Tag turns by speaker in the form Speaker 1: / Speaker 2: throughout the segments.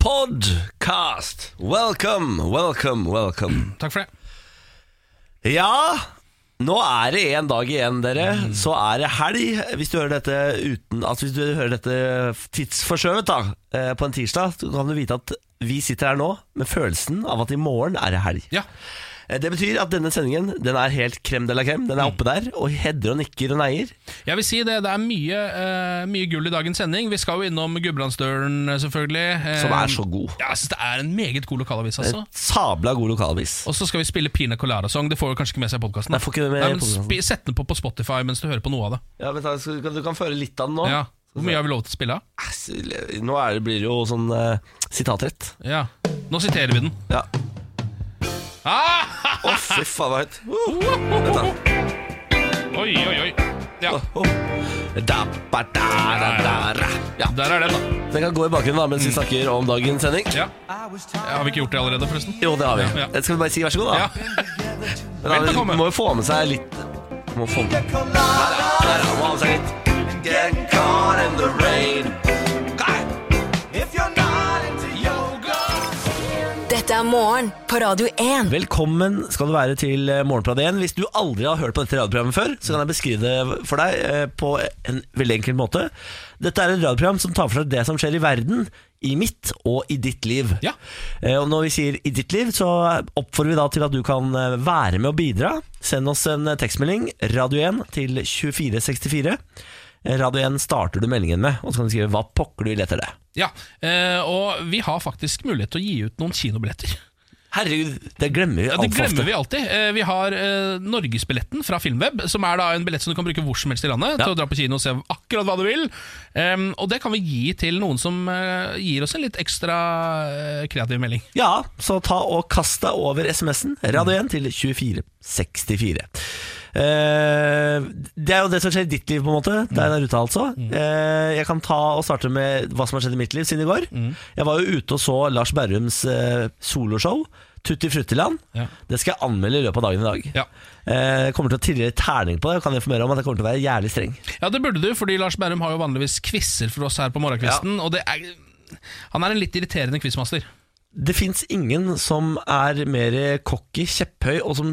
Speaker 1: Podcast! Welcome, welcome, welcome.
Speaker 2: Takk for det.
Speaker 1: Ja, nå er det en dag igjen, dere. Så er det helg. Hvis du hører dette uten Altså hvis du hører dette tidsforskjøvet da eh, på en tirsdag, så kan du vite at vi sitter her nå med følelsen av at i morgen er det helg.
Speaker 2: Ja.
Speaker 1: Eh, Det betyr at denne sendingen den er helt krem de la krem. Den er oppe der og hedder og nikker og neier.
Speaker 2: Jeg vil si det, det er mye, eh, mye gull i dagens sending. Vi skal jo innom Gudbrandsdølen, eh, selvfølgelig. Eh,
Speaker 1: Som er så god.
Speaker 2: Ja, jeg synes det er en meget god lokalavis, altså.
Speaker 1: Sabla god lokalavis.
Speaker 2: Og så skal vi spille Pina Colada-sang. Det får du kanskje ikke med seg i podkasten.
Speaker 1: Jeg får ikke det med i podcasten.
Speaker 2: Sett den på på Spotify mens du hører på noe av det.
Speaker 1: Ja, vent da, skal- kan- Du kan føre litt av den nå.
Speaker 2: Ja. Hvor mye har vi lov til å spille av?
Speaker 1: Ass, Nå er det, blir det jo sånn eh, sitatrett.
Speaker 2: Ja. Nå siterer vi den.
Speaker 1: Ja.
Speaker 2: Ah!
Speaker 1: Å, fy faen, hva høyt. Uh, vent da.
Speaker 2: Oi, oi, oi. Ja.
Speaker 1: Oh. Da, ba, da, da, da, ra. Ja.
Speaker 2: Der er Mm. den, da.
Speaker 1: Den kan gå i bakgrunnen da, mens vi snakker om dagens sending.
Speaker 2: Ja. Har vi ikke gjort det allerede, forresten?
Speaker 1: Jo, det har vi.
Speaker 2: Ja.
Speaker 1: Skal vi bare si vær så god, da?
Speaker 2: Ja.
Speaker 1: Men da,
Speaker 2: velbekomme.
Speaker 1: vi må jo få med seg litt Må få med Der, ja. Der, ja. Må ha med seg litt. Get caught in the rain.
Speaker 3: Dette er morgen på Radio 1.
Speaker 1: Velkommen skal du være til eh, Morgenprat 1. Hvis du aldri har hørt på dette radioprogrammet før, så kan jeg beskrive det for deg eh, på en veldig enkel måte. Dette er et radioprogram som tar for seg det som skjer i verden, i mitt og i ditt liv.
Speaker 2: Ja.
Speaker 1: Eh, Og når vi sier i ditt liv, så oppfordrer vi da til at du kan eh, være med og bidra. Send oss en eh, tekstmelding, Radio 1, til 2464. Eh, Radio 1 starter du meldingen med, og så kan du skrive hva pokker du vil etter det.
Speaker 2: Ja, eh, og vi har faktisk mulighet til å gi ut noen kinobilletter.
Speaker 1: Herregud, det glemmer vi
Speaker 2: Ja,
Speaker 1: alt
Speaker 2: det
Speaker 1: for ofte.
Speaker 2: glemmer vi alltid. Eh, Vi har eh, Norgesbilletten fra Filmweb, som er da en billett som du kan bruke hvor som helst i landet.
Speaker 1: Ja.
Speaker 2: Til å dra på kino og se akkurat hva du vil. Em, og det kan vi gi til noen som eh, gir oss en litt ekstra eh, kreativ melding.
Speaker 1: Ja, så ta og kast deg over SMS-en. Radio 1 til 2464. Eh, det er jo det som skjer i ditt liv, på en måte.
Speaker 2: Mm.
Speaker 1: Det er der ute, altså. Eh, jeg kan ta og starte med hva som har skjedd i mitt liv siden i går.
Speaker 2: Mm.
Speaker 1: Jeg var jo ute og så Lars Berrums eh, soloshow. Tutti Fruttiland.
Speaker 2: Ja.
Speaker 1: Det skal jeg anmelde i løpet av dagen i dag.
Speaker 2: Ja.
Speaker 1: Eh, jeg kommer til å trille terning på det og kan informere om at jeg kommer til å være jævlig streng.
Speaker 2: ja, det burde du, fordi Lars Berrum har jo vanligvis quizer for oss her på morgenkvisten. Og det er, han er en litt irriterende quizmaster.
Speaker 1: Det fins ingen som er mer cocky, kjepphøy og som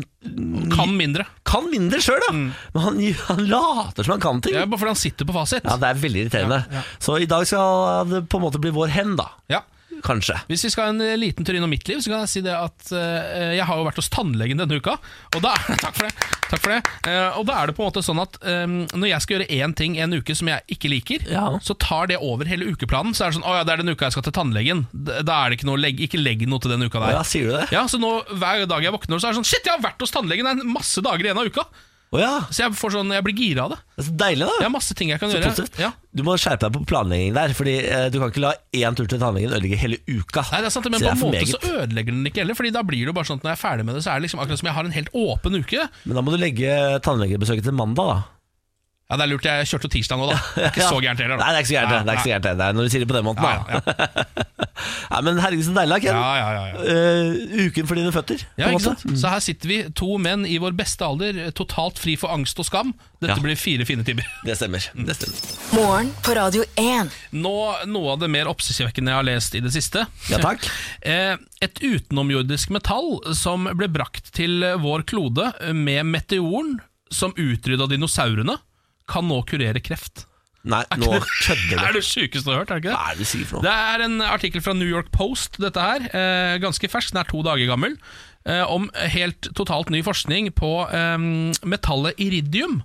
Speaker 2: Kan mindre.
Speaker 1: kan mindre sjøl, da. Men han, han later som han kan ting.
Speaker 2: Mm. Ja, bare fordi han sitter på fasit.
Speaker 1: Ja, Det er veldig irriterende. Så i dag skal det på en måte bli vår hen, da.
Speaker 2: Ja.
Speaker 1: Kanskje.
Speaker 2: Hvis vi skal ha en eh, liten tur innom mitt liv, så kan jeg si det at eh, jeg har jo vært hos tannlegen denne uka. Og da, takk for det. Takk for det. Eh, og da er det på en måte sånn at eh, når jeg skal gjøre én ting en uke som jeg ikke liker,
Speaker 1: Ja.
Speaker 2: så tar det over hele ukeplanen. Så er det sånn Å ja, det er den uka jeg skal til tannlegen. D- Da er det ikke noe legg, Ikke legg noe til den uka der.
Speaker 1: Ja, sier du det?
Speaker 2: Ja, Så nå hver dag jeg våkner, så er det sånn Shit, jeg har vært hos tannlegen! Det er masse dager igjen av uka!
Speaker 1: Å ja.
Speaker 2: Så jeg, får sånn, jeg blir gira av det.
Speaker 1: Det er så deilig, da.
Speaker 2: Jeg har masse ting jeg kan
Speaker 1: Så
Speaker 2: gjøre.
Speaker 1: positivt.
Speaker 2: Ja.
Speaker 1: Du må skjerpe deg på planlegging der, Fordi eh, du kan ikke la én tur til tannlegen ødelegge hele uka.
Speaker 2: Nei, det er sant,
Speaker 1: Så
Speaker 2: men på
Speaker 1: er
Speaker 2: en
Speaker 1: for
Speaker 2: måte så
Speaker 1: meget.
Speaker 2: ødelegger den ikke heller. Fordi da blir det jo bare sånn at når jeg er ferdig med det, så er det liksom akkurat som jeg har en helt åpen uke.
Speaker 1: Men da må du legge tannlegebesøket til mandag, da.
Speaker 2: Ja, det er lurt, jeg kjørte jo tirsdag nå, da. Det er Ikke så gærent heller, da.
Speaker 1: Nei, det er ikke så gærent, det. det. er ikke så gærent det. Nei, Når du sier det på den måten,
Speaker 2: Ja,
Speaker 1: da.
Speaker 2: ja, ja.
Speaker 1: Nei, men herregud, så deilig, da, Ken.
Speaker 2: ja, ja, ja, ja.
Speaker 1: Eh, uken for dine føtter.
Speaker 2: Ja,
Speaker 1: på en
Speaker 2: ikke
Speaker 1: måte. Mm.
Speaker 2: sant? Så her sitter vi, to menn i vår beste alder, totalt fri for angst og skam. Dette
Speaker 1: Ja.
Speaker 2: blir fire fine timer.
Speaker 1: Det stemmer. Det
Speaker 2: Mm.
Speaker 1: stemmer.
Speaker 3: Morgen på Radio 1.
Speaker 2: Nå noe av det mer oppsiktsvekkende jeg har lest i det siste.
Speaker 1: Ja, takk.
Speaker 2: Eh, Et utenomjordisk metall som ble brakt til vår klode med meteoren som utrydda dinosaurene, kan nå kurere kreft.
Speaker 1: Nei, nå kødder
Speaker 2: er
Speaker 1: du.
Speaker 2: det sjukeste du har hørt? er
Speaker 1: Hva
Speaker 2: det ikke
Speaker 1: er det du sier for noe?
Speaker 2: det? Det er en artikkel fra New York Post, dette her. Eh, ganske fersk, den er to dager gammel. Eh, om helt totalt ny forskning på eh, metallet iridium.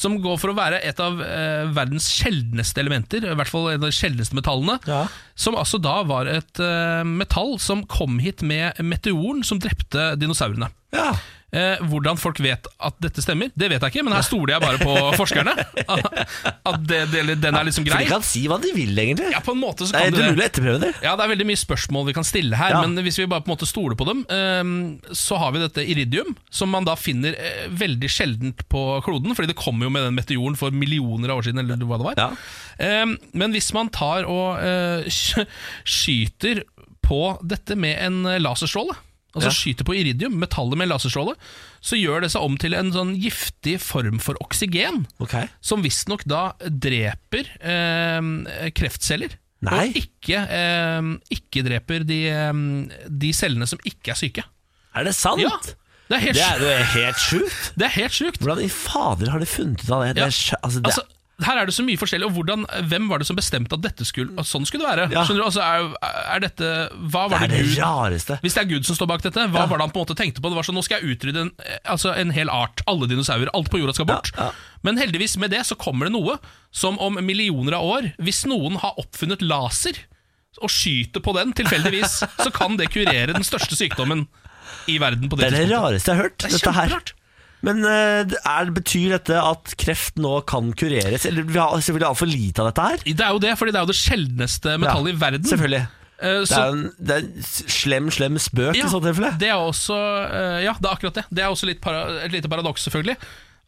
Speaker 2: Som går for å være et av eh, verdens sjeldneste elementer, i hvert fall en av de sjeldneste metallene.
Speaker 1: Ja.
Speaker 2: Som altså da var et eh, metall som kom hit med meteoren som drepte dinosaurene.
Speaker 1: Ja.
Speaker 2: Eh, hvordan folk vet at dette stemmer, det vet jeg ikke, men her stoler jeg bare på forskerne. At det, det, den er liksom
Speaker 1: For
Speaker 2: grei.
Speaker 1: de kan si hva de vil, egentlig.
Speaker 2: Ja, på en måte så
Speaker 1: det er helt
Speaker 2: kan du
Speaker 1: umulig
Speaker 2: det.
Speaker 1: å etterprøve det.
Speaker 2: Ja, Det er veldig mye spørsmål vi kan stille her,
Speaker 1: Ja.
Speaker 2: men hvis vi bare på en måte stoler på dem, eh, så har vi dette iridium, som man da finner eh, veldig sjeldent på kloden, fordi det kom jo med den meteoren for millioner av år siden, eller hva det var.
Speaker 1: Ja.
Speaker 2: Eh, Men hvis man tar og eh, sk- skyter på dette med en eh, laserstråle, altså
Speaker 1: Ja.
Speaker 2: skyter på iridium, metallet med en laserstråle, så gjør det seg om til en sånn giftig form for oksygen
Speaker 1: Ok.
Speaker 2: som visstnok da dreper eh, kreftceller.
Speaker 1: Nei.
Speaker 2: Og ikke, eh, ikke dreper de, eh, de cellene som ikke er syke.
Speaker 1: Er det sant?
Speaker 2: Ja, Det er helt,
Speaker 1: Det er
Speaker 2: sjukt.
Speaker 1: jo helt sjukt.
Speaker 2: det er helt sjukt.
Speaker 1: Hvordan i fader har de funnet ut av det?
Speaker 2: Ja.
Speaker 1: det, er, sj- altså, det
Speaker 2: Altså, her er det så mye forskjellig, og hvordan, hvem var det som bestemte at dette skulle, at sånn skulle det være?
Speaker 1: Ja.
Speaker 2: Skjønner du, altså, er, er dette, hva
Speaker 1: det
Speaker 2: var
Speaker 1: er
Speaker 2: det,
Speaker 1: det
Speaker 2: Gud
Speaker 1: rareste.
Speaker 2: Hvis det er Gud som står bak dette, hva var det han på en måte tenkte på? Det var sånn, Nå skal jeg utrydde en, eh, altså en hel art. Alle dinosaurer. Alt på jorda skal bort.
Speaker 1: Ja, ja.
Speaker 2: Men heldigvis med det så kommer det noe som om millioner av år, hvis noen har oppfunnet laser og skyter på den tilfeldigvis, så kan det kurere den største sykdommen i verden på
Speaker 1: Det er
Speaker 2: det,
Speaker 1: det
Speaker 2: tidspunktet.
Speaker 1: rareste jeg har hørt.
Speaker 2: Det er
Speaker 1: dette her.
Speaker 2: kjemperart.
Speaker 1: Men eh, det er, betyr dette at kreft nå kan kureres? Eller vi har selvfølgelig altfor lite av dette her.
Speaker 2: Det er jo det, fordi det er jo det sjeldneste
Speaker 1: Ja,
Speaker 2: metallet i verden.
Speaker 1: Selvfølgelig.
Speaker 2: Eh,
Speaker 1: Det
Speaker 2: Så,
Speaker 1: er en, det er en s- slem, slem spøk
Speaker 2: Ja,
Speaker 1: i så tilfelle.
Speaker 2: Det er også eh, Ja, det er akkurat det. Det er også litt para, et lite paradoks, selvfølgelig.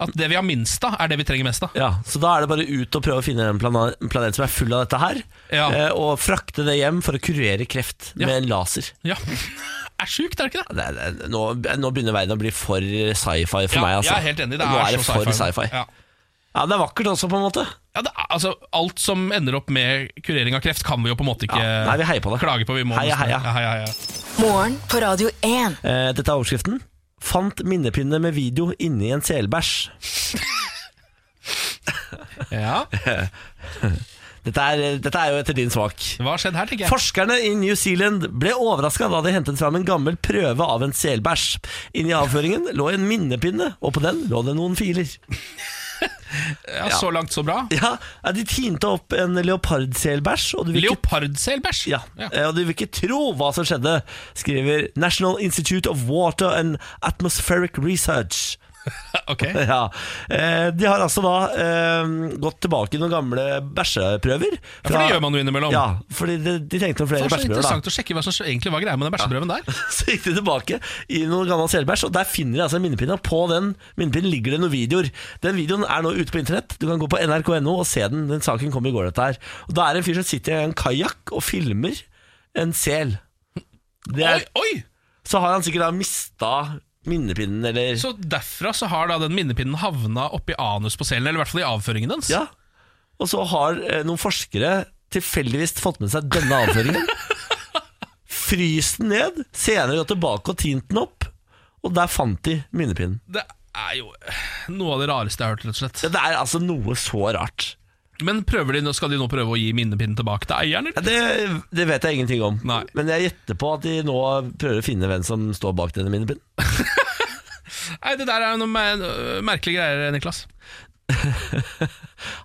Speaker 2: At det vi har minst av, er det vi trenger mest av.
Speaker 1: Ja, så da er det bare ut og prøve å finne en plana- en planet som er full av dette her,
Speaker 2: Ja.
Speaker 1: eh, og frakte det hjem for å kurere kreft
Speaker 2: Ja.
Speaker 1: med en laser.
Speaker 2: Ja. er sjukt, er det ikke det?
Speaker 1: Det, er- det, er- nå, nå begynner verden å bli for sci-fi for
Speaker 2: ja,
Speaker 1: meg. Altså.
Speaker 2: Jeg er helt enig. Det
Speaker 1: nå
Speaker 2: er,
Speaker 1: er det
Speaker 2: så
Speaker 1: for sci-fi. Ja.
Speaker 2: Ja.
Speaker 1: Det er vakkert også, på en måte.
Speaker 2: Ja, det er, altså, alt som ender opp med kurering av kreft, kan vi jo på en måte ikke
Speaker 1: Ja, nei, vi heier på det.
Speaker 2: klage på. Vi må
Speaker 1: Heia,
Speaker 2: nesten-
Speaker 1: heia.
Speaker 2: Ja, heia, heia.
Speaker 3: Morgen på Radio 1.
Speaker 1: Eh, dette er overskriften. Fant minnepinne med video inni en selbæsj.
Speaker 2: Ja.
Speaker 1: Dette, er- dette er jo etter din smak.
Speaker 2: Hva har skjedd her, tenker jeg.
Speaker 1: Forskerne i New Zealand ble overraska da de hentet fram en gammel prøve av en selbæsj. Inni avføringen lå en minnepinne, og på den lå det noen filer.
Speaker 2: ja, så langt, så bra.
Speaker 1: Ja, ja, De tinte opp en leopardselbæsj, og du vil ikke
Speaker 2: Leopardselbæsj.
Speaker 1: ja,
Speaker 2: Ja.
Speaker 1: eh, og du vil ikke tro hva som skjedde, skriver National Institute of Water and Atmospheric Research.
Speaker 2: Ok.
Speaker 1: Ja, eh, De har altså da eh, gått tilbake i noen gamle bæsjeprøver.
Speaker 2: For det gjør man jo innimellom.
Speaker 1: Ja, fordi de, de tenkte om
Speaker 2: Det
Speaker 1: flere
Speaker 2: var så
Speaker 1: bæsjeprøver. da
Speaker 2: interessant å sjekke hva som egentlig var greia med den bæsjeprøven der.
Speaker 1: Så gikk de tilbake i noen gammel selbæsj, og der finner de altså en minnepinne. Og på den minnepinnen ligger det noen videoer. Den videoen er nå ute på internett. Du kan gå på nrk.no og se den. Den saken kom i går, dette her. Og da er det en fyr som sitter i en kajakk og filmer en sel. Det
Speaker 2: Oi,
Speaker 1: er,
Speaker 2: oi!
Speaker 1: så har han sikkert da mista minnepinnen, eller
Speaker 2: Så derfra så har da den minnepinnen havna oppi anus på selen, eller i hvert fall i avføringen dens.
Speaker 1: Ja. Og så har eh, noen forskere tilfeldigvis fått med seg denne avføringen. Fryst den ned, senere gått tilbake og tint den opp, og der fant de minnepinnen.
Speaker 2: Det er jo noe av det rareste jeg har hørt, rett og slett.
Speaker 1: Ja, Det er altså noe så rart.
Speaker 2: Men prøver de, nå- skal de nå prøve å gi minnepinnen tilbake til eieren?
Speaker 1: Ja,
Speaker 2: Eller?
Speaker 1: det, det vet jeg ingenting om.
Speaker 2: Nei.
Speaker 1: Men jeg gjetter på at de nå prøver å finne hvem som står bak denne minnepinnen.
Speaker 2: Nei, det der er jo noen mer, øh, merkelige greier, Niklas.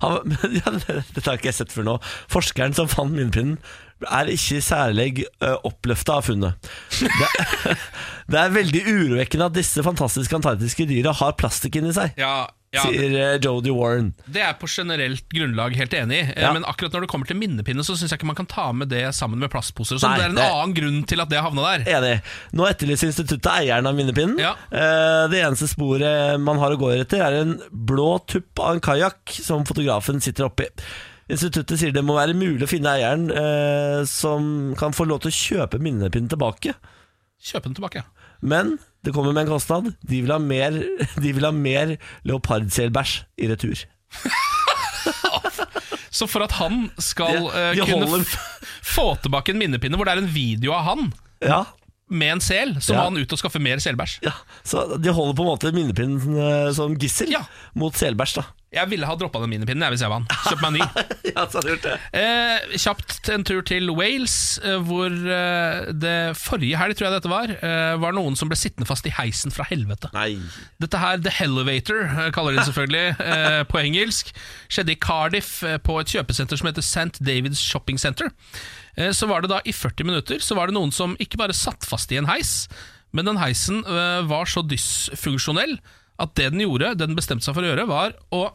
Speaker 1: Han, men, ja, det- dette har ikke jeg sett før nå. Forskeren som fant minnepinnen, er ikke særlig uh, oppløfta av funnet. Det, det er veldig urovekkende at disse fantastiske antarktiske dyra har plastikk inni seg,
Speaker 2: Ja, ja det,
Speaker 1: sier eh, Jodie Warren.
Speaker 2: det er på generelt grunnlag helt enig i, eh,
Speaker 1: Ja.
Speaker 2: men akkurat når det kommer til minnepinne, så syns jeg ikke man kan ta med det sammen med plastposer. og sånn.
Speaker 1: Nei,
Speaker 2: det er en
Speaker 1: det-
Speaker 2: annen grunn til at det havna der.
Speaker 1: Enig. Nå etterlyser instituttet eieren av minnepinnen.
Speaker 2: Ja.
Speaker 1: Eh, Det eneste sporet man har å gå etter, er en blå tupp av en kajakk som fotografen sitter oppi. Instituttet sier det må være mulig å finne eieren eh, som kan få lov til å kjøpe minnepinnen tilbake.
Speaker 2: Kjøp den tilbake. ja.
Speaker 1: Men det kommer med en kostnad. De vil ha mer, de vil ha mer leopardselbæsj i retur.
Speaker 2: Så for at han skal
Speaker 1: De-
Speaker 2: eh,
Speaker 1: de
Speaker 2: kunne
Speaker 1: holder-
Speaker 2: f få tilbake en minnepinne hvor det er en video av han
Speaker 1: Ja,
Speaker 2: med en sel, så
Speaker 1: Ja.
Speaker 2: må han ut og skaffe mer selbæsj.
Speaker 1: ja. Så de holder på en måte minnepinnen eh, som gissel
Speaker 2: Ja.
Speaker 1: mot selbæsj, da.
Speaker 2: Jeg ville ha droppa den minnepinnen jeg, hvis jeg var han. Kjøp meg en ny.
Speaker 1: ja, så har de gjort det.
Speaker 2: Eh, kjapt en tur til Wales, eh, hvor eh, det forrige helg, tror jeg dette var, eh, var noen som ble sittende fast i heisen fra helvete.
Speaker 1: Nei.
Speaker 2: Dette her, The Elevator, eh, kaller de det selvfølgelig eh, på engelsk, skjedde i Cardiff eh, på et kjøpesenter som heter St. Davids Shopping Center. Eh, så var det da i 40 minutter så var det noen som ikke bare satt fast i en heis, Men den heisen øh, var så dysfunksjonell at det den gjorde, det den bestemte seg for å gjøre, var å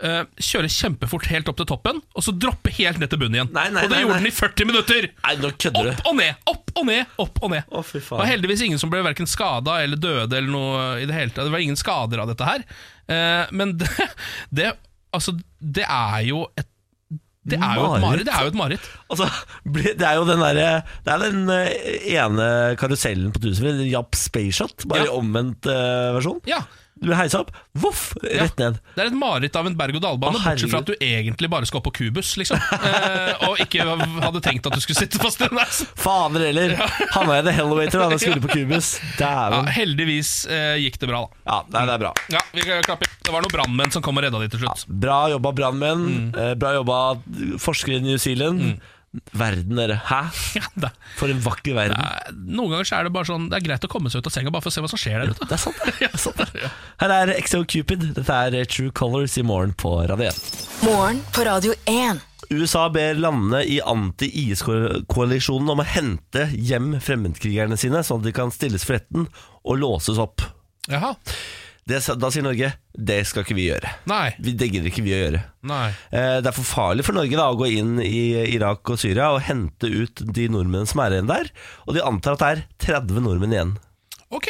Speaker 2: øh, kjøre kjempefort helt opp til toppen, og så droppe helt ned til bunnen igjen.
Speaker 1: Nei, nei,
Speaker 2: og det
Speaker 1: nei,
Speaker 2: gjorde
Speaker 1: nei.
Speaker 2: den i 40 minutter!
Speaker 1: Nei, nå kødder du.
Speaker 2: Opp og ned, opp og ned, opp og ned.
Speaker 1: Å, fy faen.
Speaker 2: Det var heldigvis ingen som ble hverken skada eller døde eller noe i det hele tatt. Det var ingen skader av dette her. Eh, men det, det Altså, det er jo et det er jo et
Speaker 1: Mareritt.
Speaker 2: mareritt. Det er jo et mareritt.
Speaker 1: Altså, bli- det er jo den derre Det er den eh, ene karusellen på Tusenfryd, Japp Spaceshot, bare
Speaker 2: Ja.
Speaker 1: i omvendt eh, versjon.
Speaker 2: Ja,
Speaker 1: Du blir heisa opp, voff,
Speaker 2: ja.
Speaker 1: rett ned.
Speaker 2: Det er et mareritt av en
Speaker 1: Å,
Speaker 2: berg-og-dal-bane, bortsett fra
Speaker 1: herregud.
Speaker 2: at du egentlig bare skal opp på kubus, liksom. Eh, og ikke hadde tenkt at du skulle sitte fast i den der.
Speaker 1: Fader heller! Havna i the elevator da jeg skulle på kubus.
Speaker 2: Ja,
Speaker 1: Dæven.
Speaker 2: heldigvis eh, gikk det bra, da.
Speaker 1: Ja, nei, det er bra.
Speaker 2: Ja, vi kan klappe. Det var noen brannmenn som kom og redda de til slutt.
Speaker 1: Bra jobba brannmenn,
Speaker 2: Mm.
Speaker 1: eh, bra jobba forskere i New Zealand. Verden, dere. Hæ?
Speaker 2: Ja, det,
Speaker 1: For en vakker verden.
Speaker 2: eh, noen ganger så er det bare sånn Det er greit å komme seg ut av senga bare for å se hva som skjer der ute.
Speaker 1: Det er sant, det. det. er sant, det. Sånn. Her er Exo Cupid. Dette er True Colors i morgen på Radio 1.
Speaker 3: Morgen på Radio 1.
Speaker 1: USA ber landene i anti-IS-koalisjonen om å hente hjem fremmedkrigerne sine, sånn at de kan stilles for retten og låses opp.
Speaker 2: Jaha,
Speaker 1: Det, sa- da sier Norge det skal ikke vi gjøre.
Speaker 2: nei,
Speaker 1: Vi, det gidder ikke vi å gjøre.
Speaker 2: nei
Speaker 1: Eh, Det er for farlig for Norge da, å gå inn i Irak og Syria og hente ut de nordmennene som er igjen der. Og de antar at det er 30 nordmenn igjen.
Speaker 2: Ok,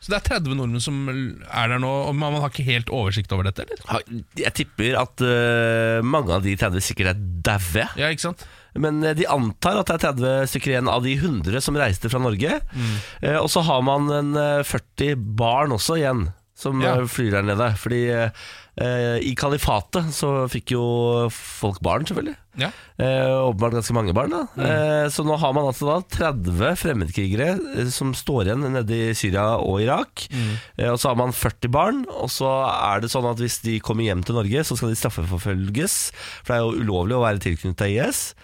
Speaker 2: så det er 30 nordmenn som er der nå Og man man har ikke helt oversikt over dette, eller?
Speaker 1: Ha- Jeg tipper at eh, mange av de 30 sikkert er daue.
Speaker 2: Ja, ikke sant?
Speaker 1: Men eh, de antar at det er 30 stykker igjen av de 100 som reiste fra Norge. Eh, Og så har man en eh, 40 barn også igjen, som
Speaker 2: Ja.
Speaker 1: eh, flyr der nede. Fordi eh, i kalifatet så fikk jo folk barn, selvfølgelig.
Speaker 2: Ja,
Speaker 1: Eh, åpenbart ganske mange barn. da eh, Så nå har man altså da 30 fremmedkrigere eh, som står igjen nede i Syria og Irak. Eh, og så har man 40 barn, og så er det sånn at hvis de kommer hjem til Norge, så skal de straffeforfølges. For det er jo ulovlig å være tilknyttet IS.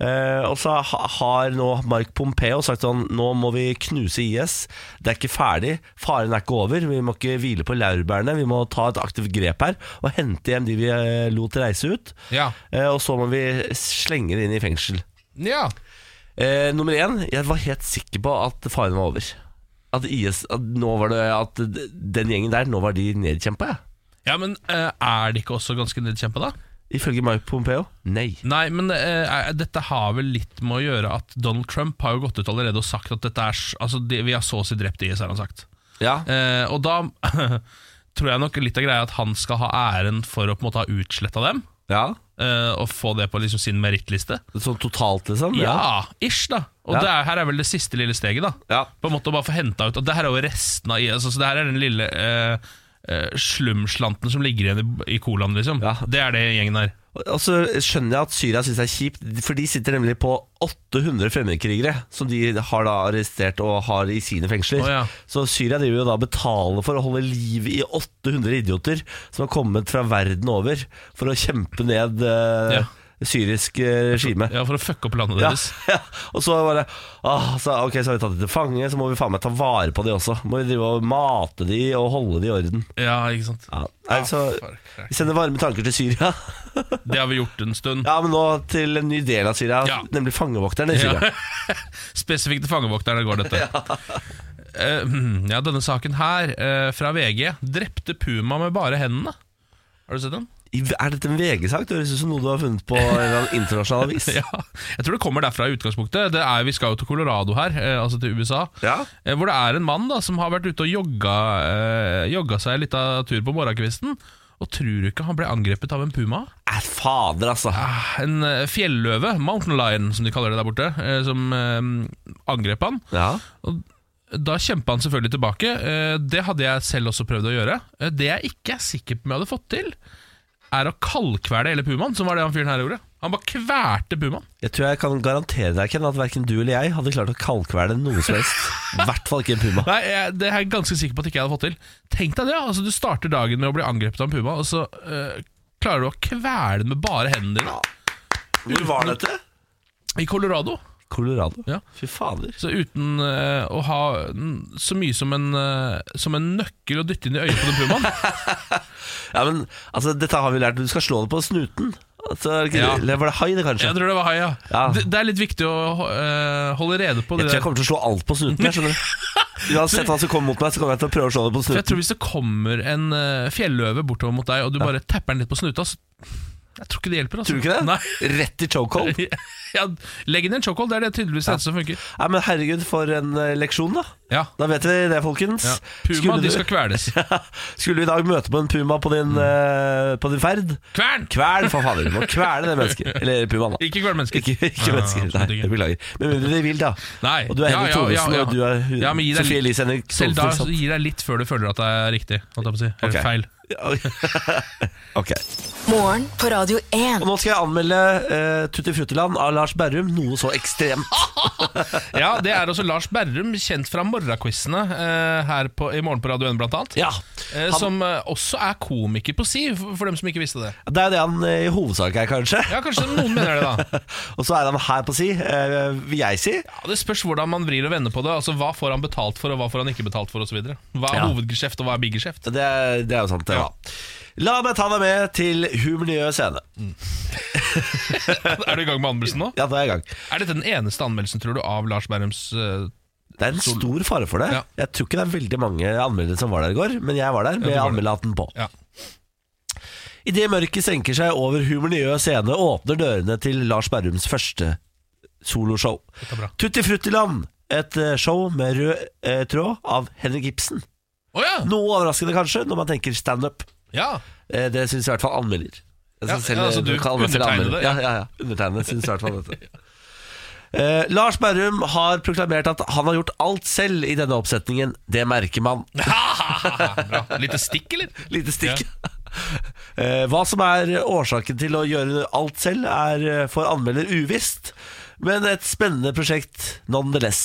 Speaker 1: Eh, og så ha, har nå Mark Pompeo sagt sånn Nå må vi knuse IS. Det er ikke ferdig. Faren er ikke over. Vi må ikke hvile på laurbærene. Vi må ta et aktivt grep her og hente hjem de vi eh, lot reise ut.
Speaker 2: ja,
Speaker 1: Eh, Og så må vi slenge det inn i fengsel.
Speaker 2: ja
Speaker 1: Eh, nummer én, jeg var helt sikker på at faren var over. At IS, at nå var det At d- den gjengen der, nå var de nedkjempa, jeg.
Speaker 2: ja, men eh, er det ikke også ganske nedkjempet da?
Speaker 1: Ifølge Mark Pompeo. Nei.
Speaker 2: Nei, men eh, er- dette har vel litt med å gjøre at Donald Trump har jo gått ut allerede og sagt at dette er s- Altså, de, vi har så å si drept IS, har han sagt.
Speaker 1: Ja,
Speaker 2: Eh, og da tror jeg nok litt av greia er at han skal ha æren for å på en måte ha utsletta dem,
Speaker 1: ja.
Speaker 2: eh, og få det på liksom sin merittliste.
Speaker 1: Sånn totalt, liksom?
Speaker 2: Ja, ish, da. Og
Speaker 1: Ja.
Speaker 2: det er, her er vel det siste lille steget, da.
Speaker 1: Ja.
Speaker 2: På en måte å bare få henta ut Og det her er jo resten av IS. Altså, det her er den lille eh, eh, slumslanten som ligger igjen i, i colaen, liksom.
Speaker 1: Ja.
Speaker 2: Det er det gjengen her.
Speaker 1: Og- Og så skjønner jeg at Syria syns det er kjipt, for de sitter nemlig på 800 fremmedkrigere som de har da arrestert og har i sine fengsler.
Speaker 2: Å, ja.
Speaker 1: Så Syria driver jo da og betaler for å holde liv i 800 idioter som har kommet fra verden over for å kjempe ned eh,
Speaker 2: Ja.
Speaker 1: syrisk eh, regime.
Speaker 2: Ja, For å fucke opp landet
Speaker 1: Ja,
Speaker 2: deres.
Speaker 1: ja. Og så bare ah, så, Ok, så har vi tatt dem til fange, så må vi faen meg ta vare på de også. Må vi drive og mate de og holde de i orden.
Speaker 2: Ja, ikke sant.
Speaker 1: Ja. Nei, så
Speaker 2: for crack.
Speaker 1: vi sender varme tanker til Syria.
Speaker 2: Det har vi gjort en stund.
Speaker 1: Ja, men nå til en ny del av Syria,
Speaker 2: Ja.
Speaker 1: nemlig fangevokterne i Syria.
Speaker 2: Spesifikt til fangevokterne går dette. ja. ja, denne saken her, eh, fra VG. 'Drepte puma med bare hendene'. Har du sett den?
Speaker 1: I- Er dette en VG-sak? Det høres ut som noe du har funnet på en eller annen internasjonal avis.
Speaker 2: Ja, jeg tror det kommer derfra i utgangspunktet. Det er, vi skal jo til Colorado her, eh, altså til USA.
Speaker 1: Ja.
Speaker 2: Eh, hvor det er en mann da som har vært ute og jogga, eh, jogga seg litt av tur på morgenkvisten. Og tror du ikke han ble angrepet av en puma?
Speaker 1: Eh, fader, altså.
Speaker 2: Ah, En eh, fjelløve, mountain lion som de kaller det der borte, eh, som eh, angrep han.
Speaker 1: Ja.
Speaker 2: Da kjempa han selvfølgelig tilbake. Eh, Det hadde jeg selv også prøvd å gjøre. Eh, Det jeg ikke er sikker på om jeg hadde fått til, er å kaldkvele hele pumaen, som var det han fyren her gjorde. Han bare kvelte pumaen.
Speaker 1: Jeg tror jeg kan garantere deg, Ken, at verken du eller jeg hadde klart å kalkvele noe som helst. I hvert fall ikke en puma.
Speaker 2: Nei, jeg, det er jeg ganske sikker på at ikke jeg hadde fått til. Tenk deg det, altså Du starter dagen med å bli angrepet av en puma, og så eh, klarer du å kvele den med bare hendene dine.
Speaker 1: Hvor var dette?
Speaker 2: I Colorado.
Speaker 1: Colorado.
Speaker 2: Ja.
Speaker 1: Fy fader.
Speaker 2: Så uten eh, å ha mm, så mye som en, eh, som en nøkkel å dytte inn i øyet på den pumaen.
Speaker 1: Ja, men altså, dette har vi lært. Du skal slå det på snuten. Altså, er det ikke-
Speaker 2: Ja.
Speaker 1: Eller var det hai, det, kanskje?
Speaker 2: Jeg tror det var hai, ja.
Speaker 1: Ja.
Speaker 2: Det, det er litt viktig å eh, holde rede på
Speaker 1: Jeg tror
Speaker 2: det
Speaker 1: jeg
Speaker 2: der.
Speaker 1: kommer til å slå alt på snuten. Jeg skjønner du. Uansett hva som kommer mot meg, så kommer jeg til å prøve å slå det på
Speaker 2: For jeg
Speaker 1: snuten.
Speaker 2: tror hvis det kommer en eh, fjelløve bortover mot deg, og du bare tepper den litt på snuta, så jeg tror ikke det hjelper. Altså.
Speaker 1: Tror du ikke det?
Speaker 2: Nei.
Speaker 1: Rett i chokehold.
Speaker 2: Ja, legg inn en chokehold, det er det tydeligvis eneste som funker.
Speaker 1: Nei, men herregud, for en eh, leksjon, da.
Speaker 2: Ja,
Speaker 1: Da vet vi det, folkens.
Speaker 2: ja. Puma,
Speaker 1: Skulle
Speaker 2: de
Speaker 1: du-
Speaker 2: skal Mm. kveles.
Speaker 1: Skulle du i dag møte på en puma på din, eh, på din ferd?
Speaker 2: Kvern!
Speaker 1: Kvel, for fader. Du må kvele det mennesket. Eller pumaen, da.
Speaker 2: Ikke Ah, kvel mennesker.
Speaker 1: Ikke, ikke mennesker.
Speaker 2: absolutt
Speaker 1: Nei,
Speaker 2: ikke.
Speaker 1: jeg beklager. Med mindre de vil, da.
Speaker 2: Nei.
Speaker 1: Og du er
Speaker 2: Ja,
Speaker 1: Henrik
Speaker 2: ja, ja,
Speaker 1: Thodesen,
Speaker 2: ja.
Speaker 1: og du er
Speaker 2: Ja, men gi deg
Speaker 1: Sofie
Speaker 2: litt-
Speaker 1: Elise Henrik
Speaker 2: Selv da så
Speaker 1: Solfrid.
Speaker 2: gir deg litt før du føler at det er riktig. Holdt jeg på å si. Eller
Speaker 1: Ok.
Speaker 2: feil.
Speaker 1: ok.
Speaker 3: Morgen på Radio
Speaker 1: Og
Speaker 3: 1.
Speaker 1: nå skal jeg anmelde eh, Tutti Fruttiland av Lars Berrum. Noe så ekstremt.
Speaker 2: Ja, det er også Lars Berrum, kjent fra morgenquizene eh, her på, i Morgen på Radio 1 blant annet.
Speaker 1: Ja.
Speaker 2: Eh,
Speaker 1: Han-
Speaker 2: Som eh, også er komiker på si, for, for dem som ikke visste det.
Speaker 1: Det er jo det han eh, i hovedsak er, kanskje.
Speaker 2: Ja, kanskje noen mener det, da.
Speaker 1: Og så er han her på si, eh, vil jeg si.
Speaker 2: Ja, det spørs hvordan man vrir og vender på det. Altså, Hva får han betalt for, og hva får han ikke betalt for, osv. Hva er
Speaker 1: Ja.
Speaker 2: hovedgeskjeft, og hva er biggeskjeft?
Speaker 1: Det er, det er jo sant, det.
Speaker 2: Ja.
Speaker 1: da. La meg ta deg med til Humor Nye Scene.
Speaker 2: er du i gang med anmeldelsen nå?
Speaker 1: Ja, da er jeg i gang.
Speaker 2: Er dette den eneste anmeldelsen, tror du, av Lars Berrums eh,
Speaker 1: Det er en stor fare for det.
Speaker 2: Ja.
Speaker 1: Jeg tror ikke det er veldig mange anmeldere som var der i går, men jeg var der med
Speaker 2: du var der.
Speaker 1: anmelderhatten på.
Speaker 2: Ja.
Speaker 1: Idet mørket senker seg over humornøye scene, åpner dørene til Lars Berrums første soloshow.
Speaker 2: Dette er bra.
Speaker 1: Tutti Fruttiland, et eh, show med rød eh, tråd av Henrik Ibsen.
Speaker 2: Å ja!
Speaker 1: Noe overraskende kanskje, når man tenker standup.
Speaker 2: ja!
Speaker 1: Eh, det syns i hvert fall anmelder. Jeg
Speaker 2: Ja,
Speaker 1: synes selv, eh,
Speaker 2: ja, altså, du
Speaker 1: kan anmelde selv
Speaker 2: undertegnede,
Speaker 1: anmelder.
Speaker 2: ja.
Speaker 1: Ja, ja, ja. Undertegnede syns i hvert fall dette. Eh, Lars Berrum har proklamert at han har gjort alt selv i denne oppsetningen. Det merker man.
Speaker 2: Ah, bra. Lite stikk, eller?
Speaker 1: Lite stikk. Eh, Hva som er årsaken til å gjøre alt selv, er eh, for anmelder uvisst. Men et spennende prosjekt nonetheless.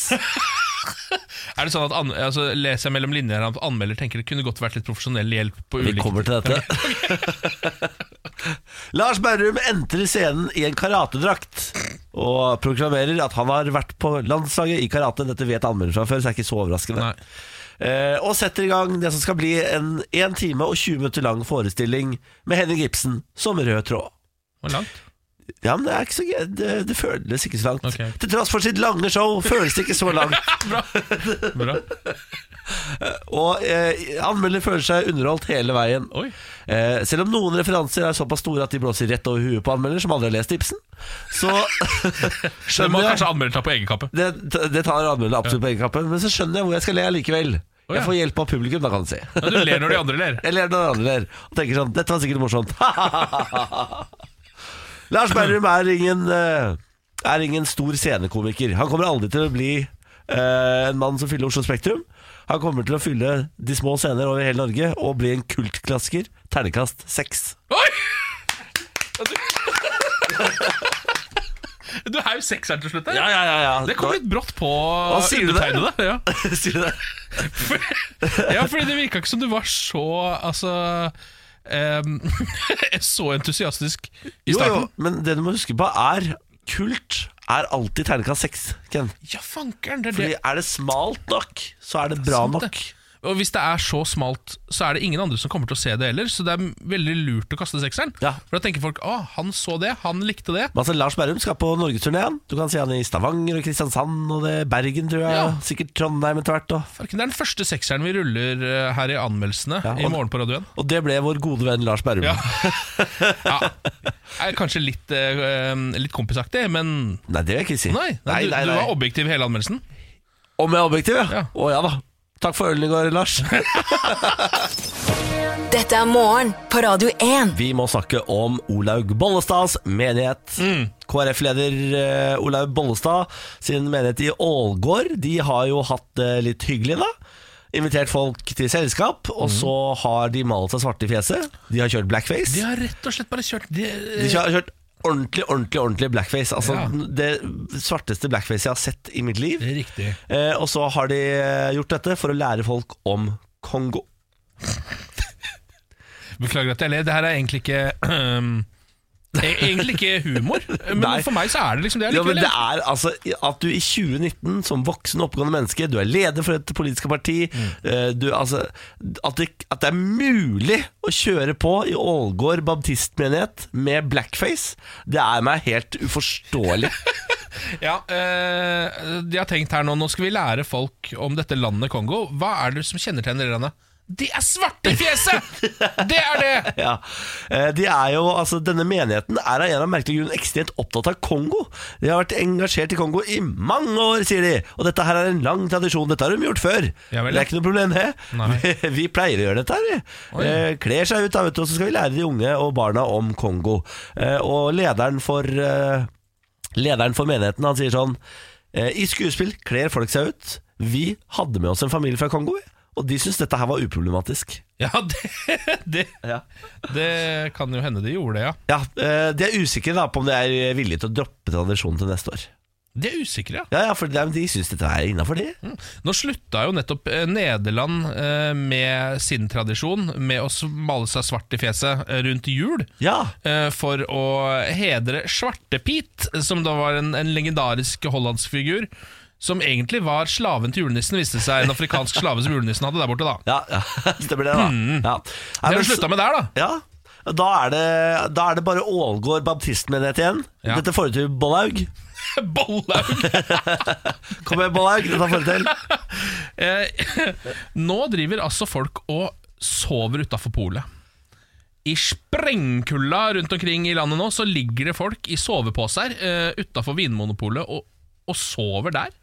Speaker 2: Er det sånn at an altså, Leser jeg mellom linjer at anmelder tenker det kunne godt vært litt profesjonell hjelp på
Speaker 1: Vi
Speaker 2: ulike
Speaker 1: kommer til dette. Lars Berrum entrer scenen i en karatedrakt og proklamerer at han har vært på landslaget i karate. Dette vet anmelder fra før, så det er ikke så overraskende.
Speaker 2: Nei.
Speaker 1: Eh, og setter i gang det som skal bli en 1 time og 20 minutter lang forestilling med Henning Ibsen som rød tråd.
Speaker 2: Hvor langt?
Speaker 1: Ja, men det, er ikke så, gøy. det, det føles ikke så langt.
Speaker 2: Ok.
Speaker 1: Til tross for sitt lange show føles det ikke så langt.
Speaker 2: Bra.
Speaker 1: Og eh, anmelder føler seg underholdt hele veien.
Speaker 2: Oi.
Speaker 1: Eh, selv om noen referanser er såpass store at de blåser rett over huet på anmelder, som aldri har lest tipsen, så
Speaker 2: Det må
Speaker 1: skjønner jeg
Speaker 2: kanskje anmelder ta på egen kappe.
Speaker 1: det, det tar anmelder absolutt på egenkappen, men så skjønner jeg hvor jeg skal le likevel.
Speaker 2: Å, ja.
Speaker 1: Jeg får hjelp av publikum, da, kan du si.
Speaker 2: Ja, du ler når de andre ler.
Speaker 1: Jeg ler når andre ler, og tenker sånn Dette var sikkert morsomt. Lars Berrum er ingen eh, Er ingen stor scenekomiker. Han kommer aldri til å bli eh, en mann som fyller Oslo Spektrum. Han kommer til å fylle de små scener over hele Norge og bli en kultklassiker. Ternekast seks.
Speaker 2: Oi! Ja, Du, du er jo sekseren til slutt her.
Speaker 1: ja, ja, ja.
Speaker 2: Det kom litt brått på
Speaker 1: Hva sier du der?
Speaker 2: undertegnede. Ja.
Speaker 1: Sier du det?
Speaker 2: ja, fordi det virka ikke som du var så Altså em, Så entusiastisk i
Speaker 1: Jo, jo,
Speaker 2: starten.
Speaker 1: men det du må huske på er Kult er alltid ternekast seks, Ken.
Speaker 2: Ja, fankeren, det er
Speaker 1: Fordi
Speaker 2: det.
Speaker 1: er det smalt nok, så er det bra
Speaker 2: sant, det.
Speaker 1: nok.
Speaker 2: Og hvis det er så smalt, så er det ingen andre som kommer til å se det heller. Så det er veldig lurt å kaste sekseren.
Speaker 1: Ja.
Speaker 2: For da tenker folk å, han så det, han likte det.
Speaker 1: Men altså, Lars Berrum skal på norgesturnéen. Du kan se han i Stavanger og Kristiansand og det, Bergen, tror jeg.
Speaker 2: Ja.
Speaker 1: og Sikkert Trondheim etter hvert. Og,
Speaker 2: Farken, Det er den første sekseren vi ruller eh, her i anmeldelsene
Speaker 1: Ja,
Speaker 2: i
Speaker 1: og-
Speaker 2: morgen på radioen.
Speaker 1: og det ble vår gode venn Lars Berrum.
Speaker 2: Ja. ja. Jeg er kanskje litt, eh, em, litt kompisaktig, men
Speaker 1: Nei, det vil jeg ikke si.
Speaker 2: nei, nei,
Speaker 1: nei,
Speaker 2: du,
Speaker 1: nei,
Speaker 2: du
Speaker 1: nei.
Speaker 2: var objektiv i hele anmeldelsen.
Speaker 1: Om jeg er objektiv, ja.
Speaker 2: Ja.
Speaker 1: Å ja da. Takk for ølen i går, Lars.
Speaker 3: Dette er morgen på Radio 1.
Speaker 1: Vi må snakke om Olaug Bollestads menighet.
Speaker 2: Mm.
Speaker 1: KrF-leder eh, Olaug Bollestad sin menighet i Ålgård. De har jo hatt det litt hyggelig, da. Invitert folk til selskap,
Speaker 2: Mm.
Speaker 1: og så har de malt seg svarte i fjeset. De har kjørt blackface.
Speaker 2: De har rett og slett bare kjørt de, eh,
Speaker 1: De har kjørt ordentlig, ordentlig ordentlig blackface. Altså
Speaker 2: Ja.
Speaker 1: Det svarteste blackface jeg har sett i mitt liv.
Speaker 2: Det er riktig.
Speaker 1: Eh, og så har de eh, gjort dette for å lære folk om Kongo.
Speaker 2: Beklager at jeg ler. Det her er egentlig ikke ehm, E- Egentlig ikke humor, men
Speaker 1: Nei.
Speaker 2: for meg så er det liksom det
Speaker 1: Ja, men
Speaker 2: allikevel.
Speaker 1: det
Speaker 2: Ja,
Speaker 1: er altså At du i 2019, som voksen oppegående menneske, du er leder for et politisk parti
Speaker 2: Mm.
Speaker 1: eh, du, altså, at, det, at det er mulig å kjøre på i Ålgård baptistmenighet med blackface, det er meg helt uforståelig.
Speaker 2: ja, eh, de har tenkt her nå Nå skal vi lære folk om dette landet Kongo. Hva er det som kjennetegner det landet? De er svarte i fjeset! Det er det!
Speaker 1: ja. Eh, De er jo, altså Denne menigheten er av en eller annen merkelig grunn ekstremt opptatt av Kongo. De har vært engasjert i Kongo i mange år, sier de. Og dette her er en lang tradisjon. Dette har de gjort før.
Speaker 2: Ja
Speaker 1: det
Speaker 2: vel, ja.
Speaker 1: er ikke noe problem, det. Vi,
Speaker 2: Nei.
Speaker 1: vi pleier å gjøre dette her, vi. Eh, Kler seg ut, da, vet du, og så skal vi lære de unge og barna om Kongo. Eh, Og lederen for eh, Lederen for menigheten han sier sånn eh, I skuespill kler folk seg ut. Vi hadde med oss en familie fra Kongo, vi, og de syntes dette her var uproblematisk.
Speaker 2: Ja, det, det,
Speaker 1: Ja.
Speaker 2: det kan jo hende de gjorde det, ja.
Speaker 1: Ja, eh, De er usikre da på om de er eh, villige til å droppe tradisjonen til neste år.
Speaker 2: De er usikre, ja.
Speaker 1: Ja, ja, for De, de syns dette er innafor, de.
Speaker 2: Nå slutta jo nettopp eh, Nederland eh, med sin tradisjon med å s- male seg svart i fjeset eh, rundt jul.
Speaker 1: Ja,
Speaker 2: eh, For å hedre Svartepit, som da var en, en legendarisk hollandsk figur. Som egentlig var slaven til julenissen, viste det seg. En afrikansk slave som julenissen hadde der borte. da
Speaker 1: ja, ja stemmer det, da. Ja. Nei,
Speaker 2: Mm. Det har
Speaker 1: men
Speaker 2: vi
Speaker 1: så-
Speaker 2: slutta med der, da.
Speaker 1: ja. Da er, det, da er det bare Ålgård baptistmenighet igjen.
Speaker 2: Ja.
Speaker 1: Dette får du til, Bollaug.
Speaker 2: Bollaug!
Speaker 1: Kom igjen, Bollaug. Dette får du til.
Speaker 2: Eh, Nå driver altså folk og sover utafor polet. I sprengkulda rundt omkring i landet nå så ligger det folk i soveposer eh, utafor Vinmonopolet og, og sover der.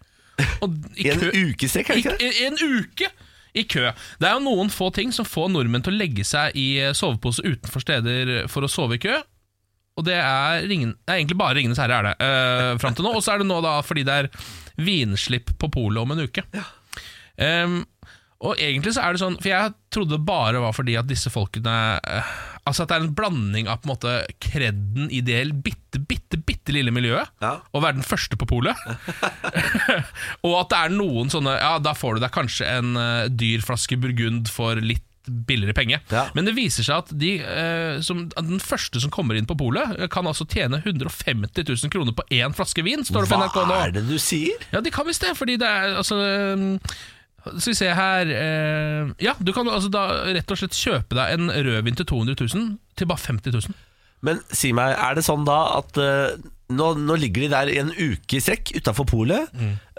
Speaker 2: Og
Speaker 1: I en uke strekk, er det ikke det?
Speaker 2: I, i en uke i kø. Det er jo noen få ting som får nordmenn til å legge seg i eh, sovepose utenfor steder for å sove i kø. Og det er, ringen, det er egentlig bare Ringenes herre er det eh, fram til nå. Og så er det nå da fordi det er vinslipp på polet om en uke. Ehm, og egentlig så er det sånn For jeg trodde det bare var fordi at disse folkene eh, Altså at det er en blanding av på en måte kredden i det bitte, bitte, bitte lille miljøet.
Speaker 1: Ja.
Speaker 2: Å være den første på polet. og at det er noen sånne Ja, da får du deg kanskje en eh, dyr flaske burgund for litt billigere penge.
Speaker 1: Ja.
Speaker 2: Men det viser seg at de, eh, som, at den første som kommer inn på polet, eh, kan altså tjene 150 000 kroner på én flaske vin, står det på NRK nå.
Speaker 1: Hva er det du sier?
Speaker 2: Ja, de kan visst det, fordi det er altså ehm, Skal vi se her eh, Ja, du kan altså da rett og slett kjøpe deg en rødvin til 200 000 til bare 50 000.
Speaker 1: Men si meg, er det sånn da at eh, nå, nå ligger de der i en uke i strekk utafor polet.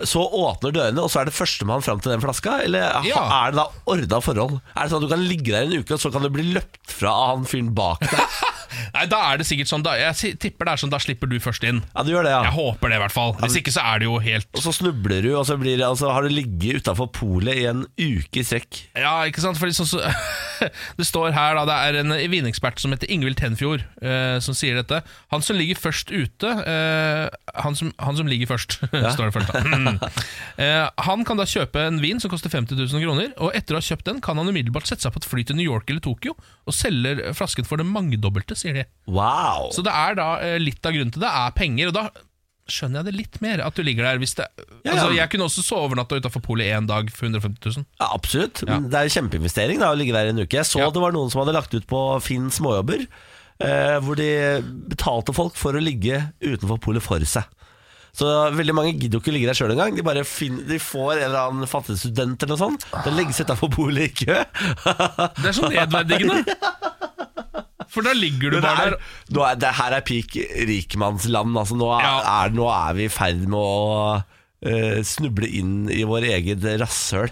Speaker 1: Så åpner dørene, og så er det førstemann fram til den flaska? Eller ha-
Speaker 2: Ja.
Speaker 1: er det da ordna forhold? Er det sånn at du kan ligge der i en uke, og så kan du bli løpt fra av han fyren bak deg?
Speaker 2: Nei, da er det sikkert sånn da, Jeg si- tipper det er sånn, da slipper du først inn.
Speaker 1: Ja, du gjør det,
Speaker 2: Jeg
Speaker 1: ja.
Speaker 2: håper det, i hvert fall. Hvis ikke så er det jo helt
Speaker 1: Og så snubler du, og så, blir, det- og så har du ligget utafor polet i en uke i strekk.
Speaker 2: Ja, ikke sant? Fordi sånn så, det står her, da, det er en eh, vinekspert som heter Ingvild Tenfjord, eh, som sier dette. Han som ligger først ute eh, han, som, han som ligger først, står det først. da. Mm. Eh, han kan da kjøpe en vin som koster 50 000 kroner, og etter å ha kjøpt den, kan han umiddelbart sette seg på et fly til New York eller Tokyo og selger flasken for det mangedobbelte, sier de.
Speaker 1: Wow!
Speaker 2: Så det er da eh, litt av grunnen til det er penger, og da skjønner jeg det litt mer, at du ligger der hvis det
Speaker 1: Ja, ja.
Speaker 2: Altså, jeg kunne også sovernatta utafor polet én dag for 150 000.
Speaker 1: Ja, absolutt. Men Det er en kjempeinvestering da, å ligge der i en uke. Jeg så
Speaker 2: Ja.
Speaker 1: det var noen som hadde lagt ut på Finn småjobber, eh, hvor de betalte folk for å ligge utenfor polet for seg. Så veldig mange gidder jo ikke ligge der sjøl engang. De bare finner, de får en eller annen fattig student eller noe sånt. Den legges utafor polet i kø.
Speaker 2: Det er så nedverdigende. For da ligger du
Speaker 1: Men Det
Speaker 2: bare
Speaker 1: er,
Speaker 2: der.
Speaker 1: nå er, det her er peak rikmannsland. Altså, nå, er,
Speaker 2: Ja.
Speaker 1: er, nå er vi i ferd med å eh, snuble inn i vår eget rasshøl.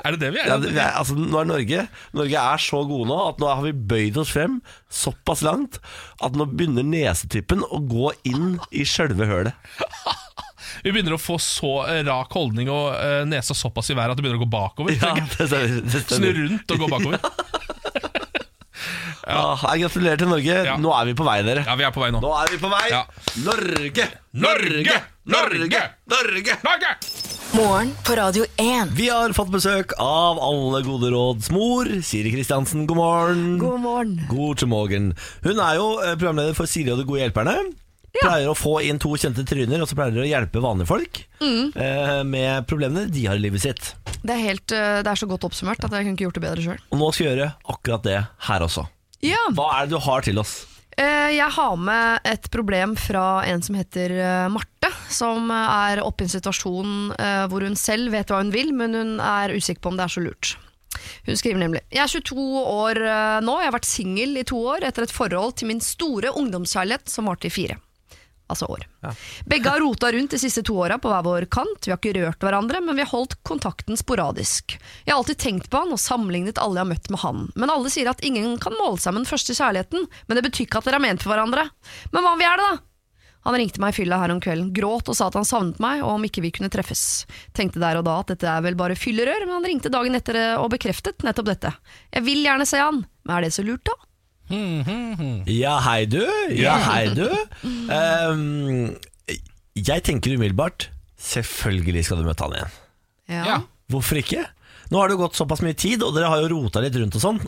Speaker 2: Er det det vi
Speaker 1: ja,
Speaker 2: er?
Speaker 1: det, vi er, altså, nå er Norge Norge er så gode nå at nå har vi bøyd oss frem såpass langt at nå begynner nesetippen å gå inn i sjølve hølet.
Speaker 2: Vi begynner å få så eh, rak holdning og eh, nesa såpass i været at det begynner å gå bakover.
Speaker 1: Ja, det stemmer. Det
Speaker 2: Snu
Speaker 1: stemmer.
Speaker 2: rundt og gå bakover.
Speaker 1: Ja, nei, gratulerer til Norge.
Speaker 2: Ja.
Speaker 1: Nå er vi på vei, dere.
Speaker 2: Ja, vi er på vei nå.
Speaker 1: Nå er vi på vei.
Speaker 2: Ja.
Speaker 1: Norge!
Speaker 2: Norge!
Speaker 1: Norge!
Speaker 2: Norge!
Speaker 1: Norge!
Speaker 2: Norge!
Speaker 3: Morgen på Radio 1.
Speaker 1: Vi har fått besøk av alle gode råds mor, Siri Kristiansen. God morgen.
Speaker 4: God morgen.
Speaker 1: God til morgen. Hun er jo eh, programleder for Siri og de gode hjelperne. Pleier å få inn to kjente tryner, og så pleier de å hjelpe vanlige folk
Speaker 4: Mm.
Speaker 1: eh, med problemene de har i livet sitt.
Speaker 5: Det er, helt, eh, det er så godt oppsummert at jeg kunne ikke gjort det bedre sjøl.
Speaker 1: Og nå skal vi gjøre akkurat det her også.
Speaker 5: Ja.
Speaker 1: Hva er det du har til oss?
Speaker 5: Eh, Jeg har med et problem fra en som heter eh, Marte, som eh, er oppe i en situasjon eh, hvor hun selv vet hva hun vil, men hun er usikker på om det er så lurt. Hun skriver nemlig Jeg er 22 år eh, nå, jeg har vært singel i to år etter et forhold til min store ungdomskjærlighet som varte i fire. Altså år. Begge har rota rundt de siste to åra på hver vår kant. Vi har ikke rørt hverandre, men vi har holdt kontakten sporadisk. Jeg har alltid tenkt på han og sammenlignet alle jeg har møtt med han. Men alle sier at ingen kan måle seg med den første kjærligheten, men det betyr ikke at dere er ment for hverandre. Men hva om vi er det, da? Han ringte meg i fylla her om kvelden, gråt og sa at han savnet meg, og om ikke vi kunne treffes. Tenkte der og da at dette er vel bare fyllerør, men han ringte dagen etter og bekreftet nettopp dette. Jeg vil gjerne se han, men er det så lurt, da?
Speaker 1: Ja, hei du. Ja, hei du.
Speaker 4: Mm.
Speaker 1: Ehm, jeg tenker umiddelbart Selvfølgelig skal du møte han igjen.
Speaker 2: Ja.
Speaker 1: Hvorfor ikke? Nå har det jo gått såpass mye tid, og dere har jo rota litt rundt og sånn.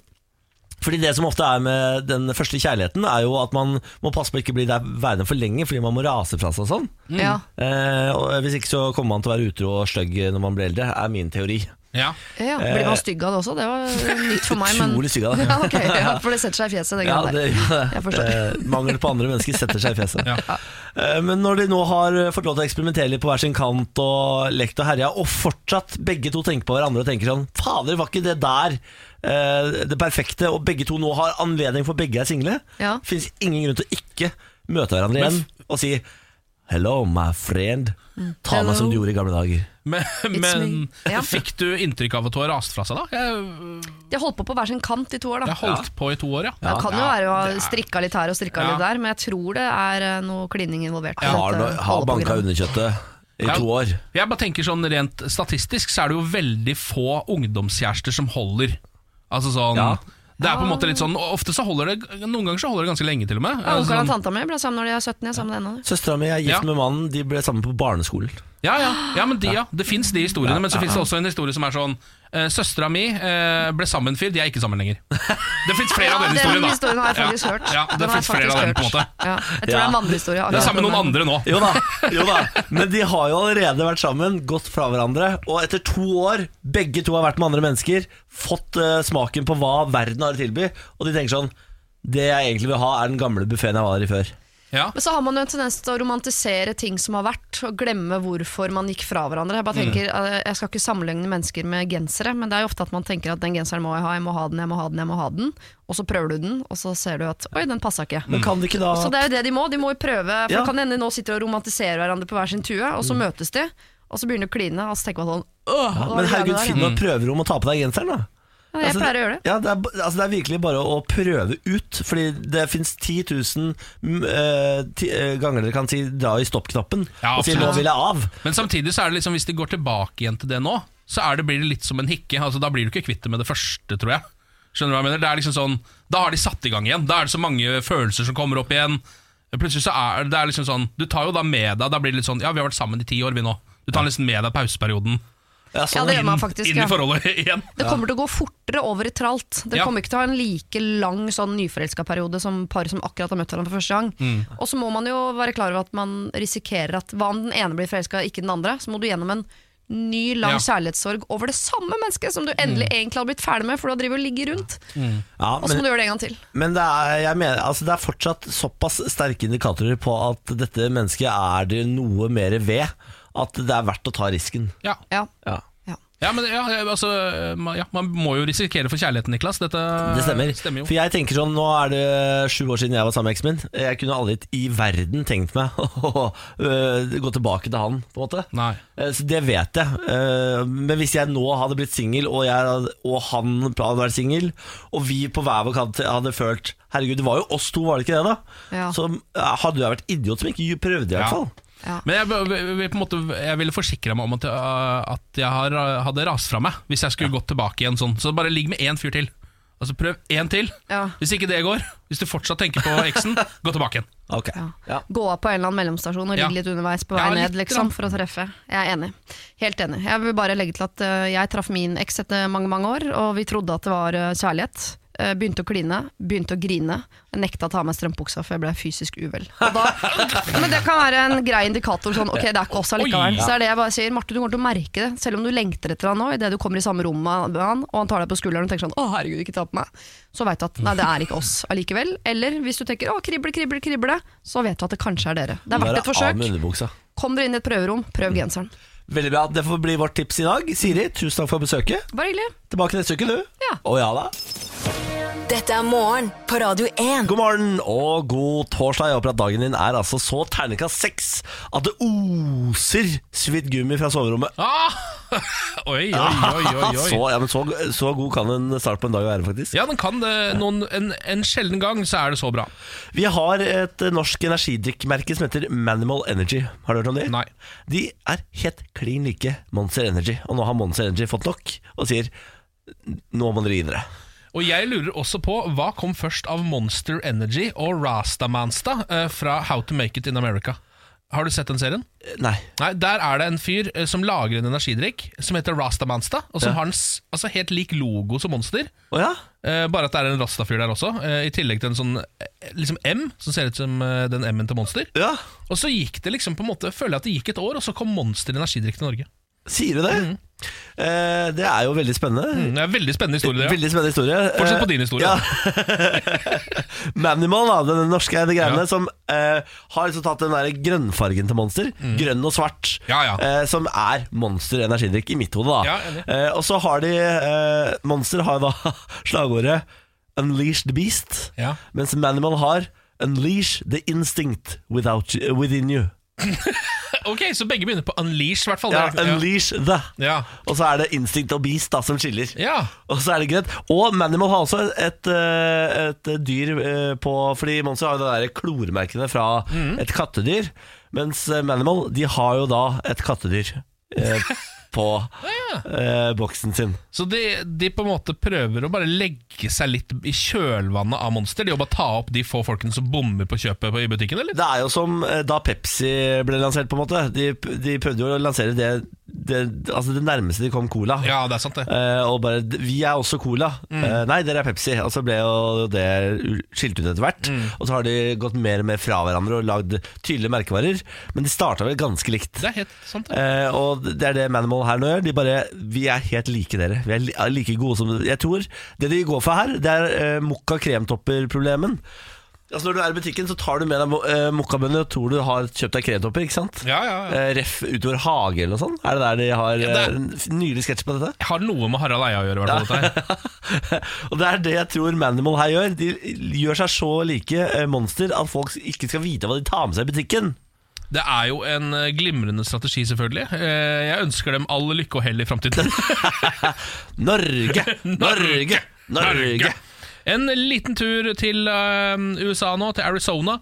Speaker 1: Fordi Det som ofte er med den første kjærligheten, er jo at man må passe på å ikke bli der værende for lenge fordi man må rase fra seg og sånn.
Speaker 5: ja.
Speaker 1: Eh, og Hvis ikke så kommer man til å være utro og stygg når man blir eldre, er min teori.
Speaker 2: Ja.
Speaker 5: Ja, Blir man stygg av det også? Det var nytt for meg. Men...
Speaker 1: Utrolig stygg av det.
Speaker 5: Ja, ok, ja, for det setter seg i fjeset. Det
Speaker 1: Ja,
Speaker 5: greia
Speaker 1: det,
Speaker 5: der. Jeg forstår.
Speaker 1: Eh, mangel på andre mennesker setter seg i fjeset.
Speaker 2: Ja.
Speaker 1: Eh, Men når de nå har eh, fått lov til å eksperimentere litt på hver sin kant og lekt og herja, og fortsatt begge to tenker på hverandre og tenker sånn Fader, var ikke det der eh, det perfekte? Og begge to nå har anledning, for begge er single.
Speaker 5: Ja.
Speaker 1: Fins ingen grunn til å ikke møte hverandre igjen og si Hello, my friend. Ta
Speaker 5: Mm. Hello.
Speaker 1: meg som du gjorde i gamle dager.
Speaker 2: Men, men
Speaker 5: me. Ja.
Speaker 2: fikk du inntrykk av at hun har rast fra seg, da? Jeg,
Speaker 5: De har holdt på på hver sin kant i to år, da.
Speaker 2: jeg holdt på i to år, ja.
Speaker 5: det kan jo være å
Speaker 2: det
Speaker 5: ha
Speaker 2: er-
Speaker 5: strikka litt her og strikka
Speaker 2: Ja.
Speaker 5: litt der, men jeg tror det er eh, noe klining involvert. eh, i
Speaker 1: Jeg har,
Speaker 5: dette
Speaker 1: nå- har banka
Speaker 5: holdeprogrammet.
Speaker 1: underkjøttet i
Speaker 2: Ja.
Speaker 1: to år.
Speaker 2: Jeg bare tenker sånn Rent statistisk så er det jo veldig få ungdomskjærester som holder. Altså sånn
Speaker 1: Ja.
Speaker 2: Det er på en måte litt sånn Ofte så holder det Noen ganger så holder det ganske lenge, til og med.
Speaker 5: Ja,
Speaker 2: Altså
Speaker 5: Onkelen og
Speaker 2: sånn,
Speaker 5: tanta mi ble sammen når de er 17, jeg er sammen med henne.
Speaker 1: Søstera mi er gift
Speaker 2: Ja.
Speaker 1: med mannen, de ble sammen på barneskolen.
Speaker 2: ja, ja, ja, men de, ja. Det fins de historiene, men så fins det også en historie som er sånn eh, Søstera mi eh, ble sammenfylt, de er ikke sammen lenger. Det fins flere av den
Speaker 5: den
Speaker 2: historien, da.
Speaker 5: historien har jeg faktisk hørt.
Speaker 2: Ja, det
Speaker 5: Den har jeg
Speaker 2: finnes flere av
Speaker 5: faktisk
Speaker 2: dem, på en
Speaker 5: hørt.
Speaker 2: måte.
Speaker 5: Ja,
Speaker 1: Ja.
Speaker 5: jeg tror det er en mannlig
Speaker 2: Det er sammen med noen andre nå.
Speaker 1: Jo da, jo da, men de har jo allerede vært sammen, gått fra hverandre. Og etter to år, begge to har vært med andre mennesker, fått eh, smaken på hva verden har å tilby, og de tenker sånn Det jeg egentlig vil ha, er den gamle buffeen jeg var i før.
Speaker 2: Ja.
Speaker 5: Men så har man jo en tendens til å romantisere ting som har vært, og glemme hvorfor man gikk fra hverandre. Jeg bare
Speaker 1: Mm.
Speaker 5: tenker, eh, jeg skal ikke sammenligne mennesker med gensere, men det er jo ofte at man tenker at den genseren må jeg ha, jeg må ha den, jeg må ha den, jeg må ha den. Og så prøver du den, og så ser du at oi, den passa ikke.
Speaker 1: Men kan de ikke da
Speaker 5: Så det er jo det de må, de må jo prøve. For
Speaker 1: Ja. Mm.
Speaker 5: det kan hende de nå sitter og romantiserer hverandre på hver sin tue, og så møtes de, og så begynner de å kline, og så tenker man sånn åh, hva var
Speaker 1: Men
Speaker 5: det
Speaker 1: herregud,
Speaker 5: der, ja?»
Speaker 1: finn deg et prøverom og ta på deg genseren, da.
Speaker 5: Ja, Jeg pleier å gjøre det.
Speaker 1: Ja, Altså, det, er, b- altså det er virkelig bare å prøve ut. Fordi det fins 10 000 mm, eh, ti- eh, ganger dere kan si 'dra i stopp-knappen'
Speaker 2: Ja,
Speaker 1: og si 'nå
Speaker 2: absolutt.
Speaker 1: vil jeg av'.
Speaker 2: Men samtidig så er det liksom hvis de går tilbake igjen til det nå, så er det, blir det litt som en hikke. Altså, da blir du ikke kvitt det med det første, tror jeg. Skjønner du hva jeg mener? Det er liksom sånn, Da har de satt i gang igjen. Da er det så mange følelser som kommer opp igjen. Plutselig så er det er liksom sånn Du tar jo da med deg Da blir det litt sånn Ja, vi har vært sammen i ti år, vi nå. Du tar liksom med deg pauseperioden
Speaker 1: Ja,
Speaker 5: Ja,
Speaker 1: sånn,
Speaker 5: det gjør man
Speaker 2: inn,
Speaker 5: faktisk.
Speaker 2: inn
Speaker 5: ja.
Speaker 2: i forholdet igjen.
Speaker 5: Det kommer til å gå fortere over i tralt. Dere
Speaker 2: Ja.
Speaker 5: kommer ikke til å ha en like lang sånn nyforelska periode som par som akkurat har møtt hverandre for første gang.
Speaker 2: Mm.
Speaker 5: Og så må man jo være klar over at man risikerer at hva om den ene blir forelska, ikke den andre, så må du gjennom en ny, lang
Speaker 2: Ja. Mm.
Speaker 5: kjærlighetssorg over det samme mennesket som du endelig egentlig hadde blitt ferdig med, for du har drevet og ligget rundt.
Speaker 1: ja,
Speaker 5: Og så må du gjøre det en gang til.
Speaker 1: Men det er, jeg mener, altså det er fortsatt såpass sterke indikatorer på at dette mennesket er det noe mer ved, at det er verdt å ta risken.
Speaker 2: Ja.
Speaker 5: Ja.
Speaker 1: Ja.
Speaker 5: Ja.
Speaker 2: Ja, men ja, altså, man- ja, Man må jo risikere for kjærligheten, Niklas. Dette
Speaker 1: Det stemmer.
Speaker 2: stemmer
Speaker 1: For
Speaker 2: jo.
Speaker 1: jeg tenker sånn, Nå er det sju år siden jeg var sammen med eksen min. Jeg kunne aldri i verden tenkt meg å øh, gå tilbake til han. på en måte
Speaker 2: Nei.
Speaker 1: Eh, Så Det vet jeg. Eh, Men hvis jeg nå hadde blitt singel, og, jeg hadde- og han hadde vært singel, og vi på hver vår kant hadde følt Herregud, det var jo oss to, var det ikke det? da?
Speaker 5: Ja.
Speaker 1: Så eh, hadde jeg vært idiot som ikke prøvde, i
Speaker 2: Ja.
Speaker 1: hvert fall.
Speaker 2: Men jeg, vil- vil på en måte, jeg ville forsikre meg om at jeg, at jeg har, hadde rast fra meg hvis jeg skulle gått tilbake igjen sånn. Så bare ligg med én fyr til. Altså Prøv én til.
Speaker 5: Ja.
Speaker 2: Hvis ikke det går, hvis du fortsatt tenker på eksen, gå tilbake igjen.
Speaker 1: Ok. Ja.
Speaker 5: Gå av på en eller annen mellomstasjon og
Speaker 2: Ja.
Speaker 5: ligge litt underveis på vei
Speaker 2: Ja,
Speaker 5: ned,
Speaker 2: litt,
Speaker 5: liksom,
Speaker 2: da.
Speaker 5: for å treffe. Jeg er enig. Helt enig. Jeg vil bare legge til at eh, jeg traff min eks etter mange, mange år, og vi trodde at det var eh, kjærlighet. Eh, eh, begynte å kline, begynte å grine. Jeg nekta å ta av meg strømpuksa, for jeg ble fysisk uvel. Og da, ja, men det kan være en grei indikator. Sånn, ok, det er ikke oss
Speaker 2: Oi,
Speaker 5: allikevel.
Speaker 2: ja.
Speaker 5: Så det er det jeg bare sier. Marte, du kommer til å merke det, selv om du lengter etter han nå, idet du kommer i samme rom med han, og han tar deg på skulderen og tenker sånn 'Å, herregud, ikke ta på meg', så veit du at nei, det er ikke oss allikevel. Eller hvis du tenker 'Å, krible, krible, krible', så vet du at det kanskje er dere. Det er
Speaker 1: Bare
Speaker 5: verdt
Speaker 1: Av med
Speaker 5: et forsøk.
Speaker 1: underbuksa.
Speaker 5: Kom dere inn i et prøverom, prøv genseren.
Speaker 1: Veldig bra. Det får bli vårt tips i dag. Siri, tusen takk for besøket.
Speaker 5: Bare hyggelig.
Speaker 1: Tilbake neste uke, du.
Speaker 5: Ja.
Speaker 1: Å ja da.
Speaker 3: Dette er morgen på Radio 1.
Speaker 1: God morgen og god torsdag. Jeg håper at dagen din er altså så terningkast seks at det oser svidd gummi fra soverommet.
Speaker 2: Ah! Oi, oi, oi, oi, oi.
Speaker 1: Så, ja, men så, så god kan en start på en dag være, faktisk.
Speaker 2: Ja, den kan det. Noen, en, en sjelden gang så er det så bra.
Speaker 1: Vi har et eh, norsk energidrikkmerke som heter Manimal Energy. Har du hørt om de?
Speaker 2: Nei.
Speaker 1: De er helt klin like Monster Energy, og nå har Monster Energy fått nok og sier nå må dere gi dere.
Speaker 2: Og jeg lurer også på hva kom først av Monster Energy og Rastamansta eh, fra How to Make It in America. Har du sett den serien?
Speaker 1: Eh, Nei.
Speaker 2: Nei, Der er det en fyr eh, som lager en energidrikk som heter Rastamansta, og
Speaker 1: Ja.
Speaker 2: som har en s- altså, helt lik logo som Monster.
Speaker 1: Å ja?
Speaker 2: Eh, bare at det er en Rasta-fyr der også, eh, i tillegg til en sånn eh, liksom M, som ser ut som eh, den M-en til Monster.
Speaker 1: Ja.
Speaker 2: Og så gikk det liksom på en måte, føler jeg at det gikk et år, og så kom Monster energidrikk til Norge.
Speaker 1: Sier du det? Eh, det er jo veldig spennende.
Speaker 2: Mm, det er en Veldig spennende historie. det,
Speaker 1: Veldig spennende historie.
Speaker 2: Fortsett
Speaker 1: Eh,
Speaker 2: på din historie,
Speaker 1: Manimal, da, den norske de greiene
Speaker 2: Ja.
Speaker 1: som eh, har liksom tatt den der grønnfargen til Monster. Grønn og svart.
Speaker 2: Mm. Ja, ja.
Speaker 1: eh, som er Monster energidrikk i mitt hode. da
Speaker 2: Ja, enig.
Speaker 1: eh, Og så har de eh, Monster har da slagordet 'Unleash the Beast',
Speaker 2: Ja.
Speaker 1: mens Manimal har 'Unleash the Instinct without you, within you'.
Speaker 2: ja. Ok, Så begge begynner på Unleash, i hvert fall.
Speaker 1: Ja,
Speaker 2: Det er-
Speaker 1: unleash the.
Speaker 2: Ja.
Speaker 1: Og så er det Instinct og Beast da som skiller.
Speaker 2: Ja.
Speaker 1: Og så er det greit Og Manimal har også et, eh, et dyr eh, på Fordi Monster har jo det der klormerkene fra et kattedyr Mens eh, Manimal, de har jo da et kattedyr eh, På eh, boksen sin
Speaker 2: Så de, de på en måte prøver å bare legge seg litt i kjølvannet av Monster. De å bare ta opp de få folkene som bommer på kjøpet på- i butikken, eller?
Speaker 1: Det er jo som eh, da Pepsi ble lansert på en måte De, de prøvde jo å lansere det, det Altså det nærmeste de kom cola
Speaker 2: Ja, det er sant, det.
Speaker 1: Eh, og bare, "D- vi er også cola
Speaker 2: Mm.
Speaker 1: Eh, Nei, dere er Pepsi Og så ble jo det u- skilt ut etter hvert
Speaker 2: Mm.
Speaker 1: Og så har de gått mer og mer fra hverandre Og lagd tydelige merkevarer Men de startet vel ganske likt
Speaker 2: Det er helt sant, det.
Speaker 1: Eh, og det er det Manimal her nå gjør De bare, vi er helt like dere Vi er li- er like gode som Jeg tror det de går for her Det er eh, mokka kremtopper-problemen Altså når du er i butikken Så tar du med deg uh, mokkabønner Og tror du har kjøpt deg kremtopper, ikke sant?
Speaker 2: Ja, ja, ja.
Speaker 1: Eh, ref utover hage eller noe sånt Er det der de har
Speaker 2: Ja, det
Speaker 1: eh,
Speaker 2: er-
Speaker 1: en f- nylig sketsj på dette?
Speaker 2: Jeg Eh, har noe med Harald Eia å gjøre, i hvert fall. Dette her.
Speaker 1: og det er det jeg tror Manimal her gjør. De gjør seg så like eh, monster at folk ikke skal vite hva de tar med seg i butikken.
Speaker 2: Det er jo en eh, glimrende strategi, selvfølgelig. Eh, Jeg ønsker dem all lykke og hell i framtiden.
Speaker 1: Norge, Norge, Norge.
Speaker 2: En liten tur til eh, USA nå, til Arizona.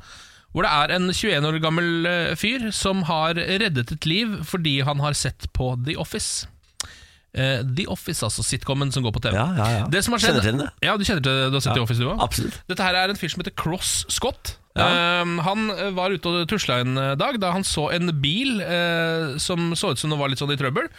Speaker 2: Hvor det er en 21 år gammel eh, fyr som har reddet et liv fordi han har sett på The Office. Eh, The Office, altså sitcomen som går på TV.
Speaker 1: Ja, ja, ja.
Speaker 2: Det som har skjedd,
Speaker 1: Kjenner til den, det.
Speaker 2: Ja, du kjenner til det? Du har sett The Office, du òg?
Speaker 1: Absolutt.
Speaker 2: Dette her er en fyr som heter Cross Scott.
Speaker 1: Ja.
Speaker 2: Eh, han eh, var ute og tusla en eh, dag da han så en bil eh, som så ut som den var litt sånn i trøbbel.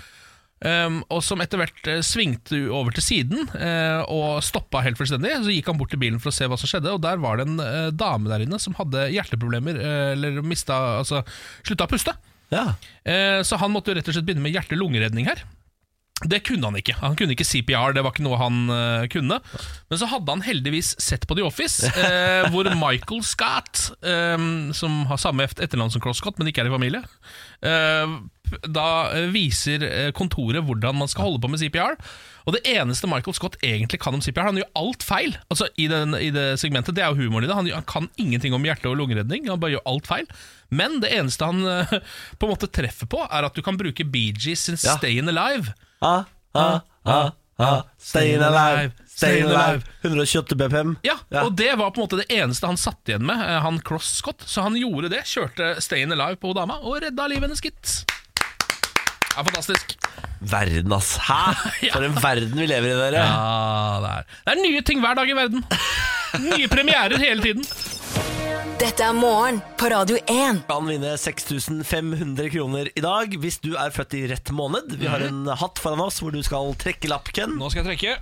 Speaker 2: Um, og som etter hvert eh, svingte over til siden eh, og stoppa helt fullstendig. Så gikk han bort til bilen for å se hva som skjedde, og der var det en eh, dame der inne som hadde hjerteproblemer, eh, eller mista Altså slutta å puste.
Speaker 1: Ja.
Speaker 2: Eh, så han måtte jo rett og slett begynne med hjerte-lungeredning her. Det kunne han ikke. Han kunne ikke CPR, det var ikke noe han eh, kunne. Men så hadde han heldigvis sett på The Office, eh, hvor Michael Scott, eh, som har samme eft- etternavn som Cross Scott, men ikke er i familie, eh, p- da eh, viser eh, kontoret hvordan man skal holde på med CPR. Og det eneste Michael Scott egentlig kan om CPR, han gjør alt feil Altså i, den, i det segmentet, det er jo humoren i det. Han, han kan ingenting om hjerte- og lungeredning, han bare gjør alt feil. Men det eneste han eh, på en måte treffer på, er at du kan bruke Bee Gees sin
Speaker 1: Ja.
Speaker 2: Stayin' Alive.
Speaker 1: Ah, ah, ah, ah. Stayin' alive, stayin' alive. 128 BPM.
Speaker 2: Ja, og det var på en måte det eneste han satt igjen med, eh, han Cross Scott. Så han gjorde det, kjørte Stayin' Alive på dama og redda livet hennes, gitt. Det er fantastisk.
Speaker 1: Verden, ass. Hæ? For en verden vi lever i, dere.
Speaker 2: Ja, det, er. det er nye ting hver dag i verden. Nye premierer hele tiden.
Speaker 3: Dette er morgen på Radio 1.
Speaker 1: kan vinne 6500 kroner i dag hvis du er født i rett måned.
Speaker 2: Mhm.
Speaker 1: Vi har en hatt foran oss hvor du skal trekke lapp, Ken.
Speaker 2: Nå skal jeg trekke.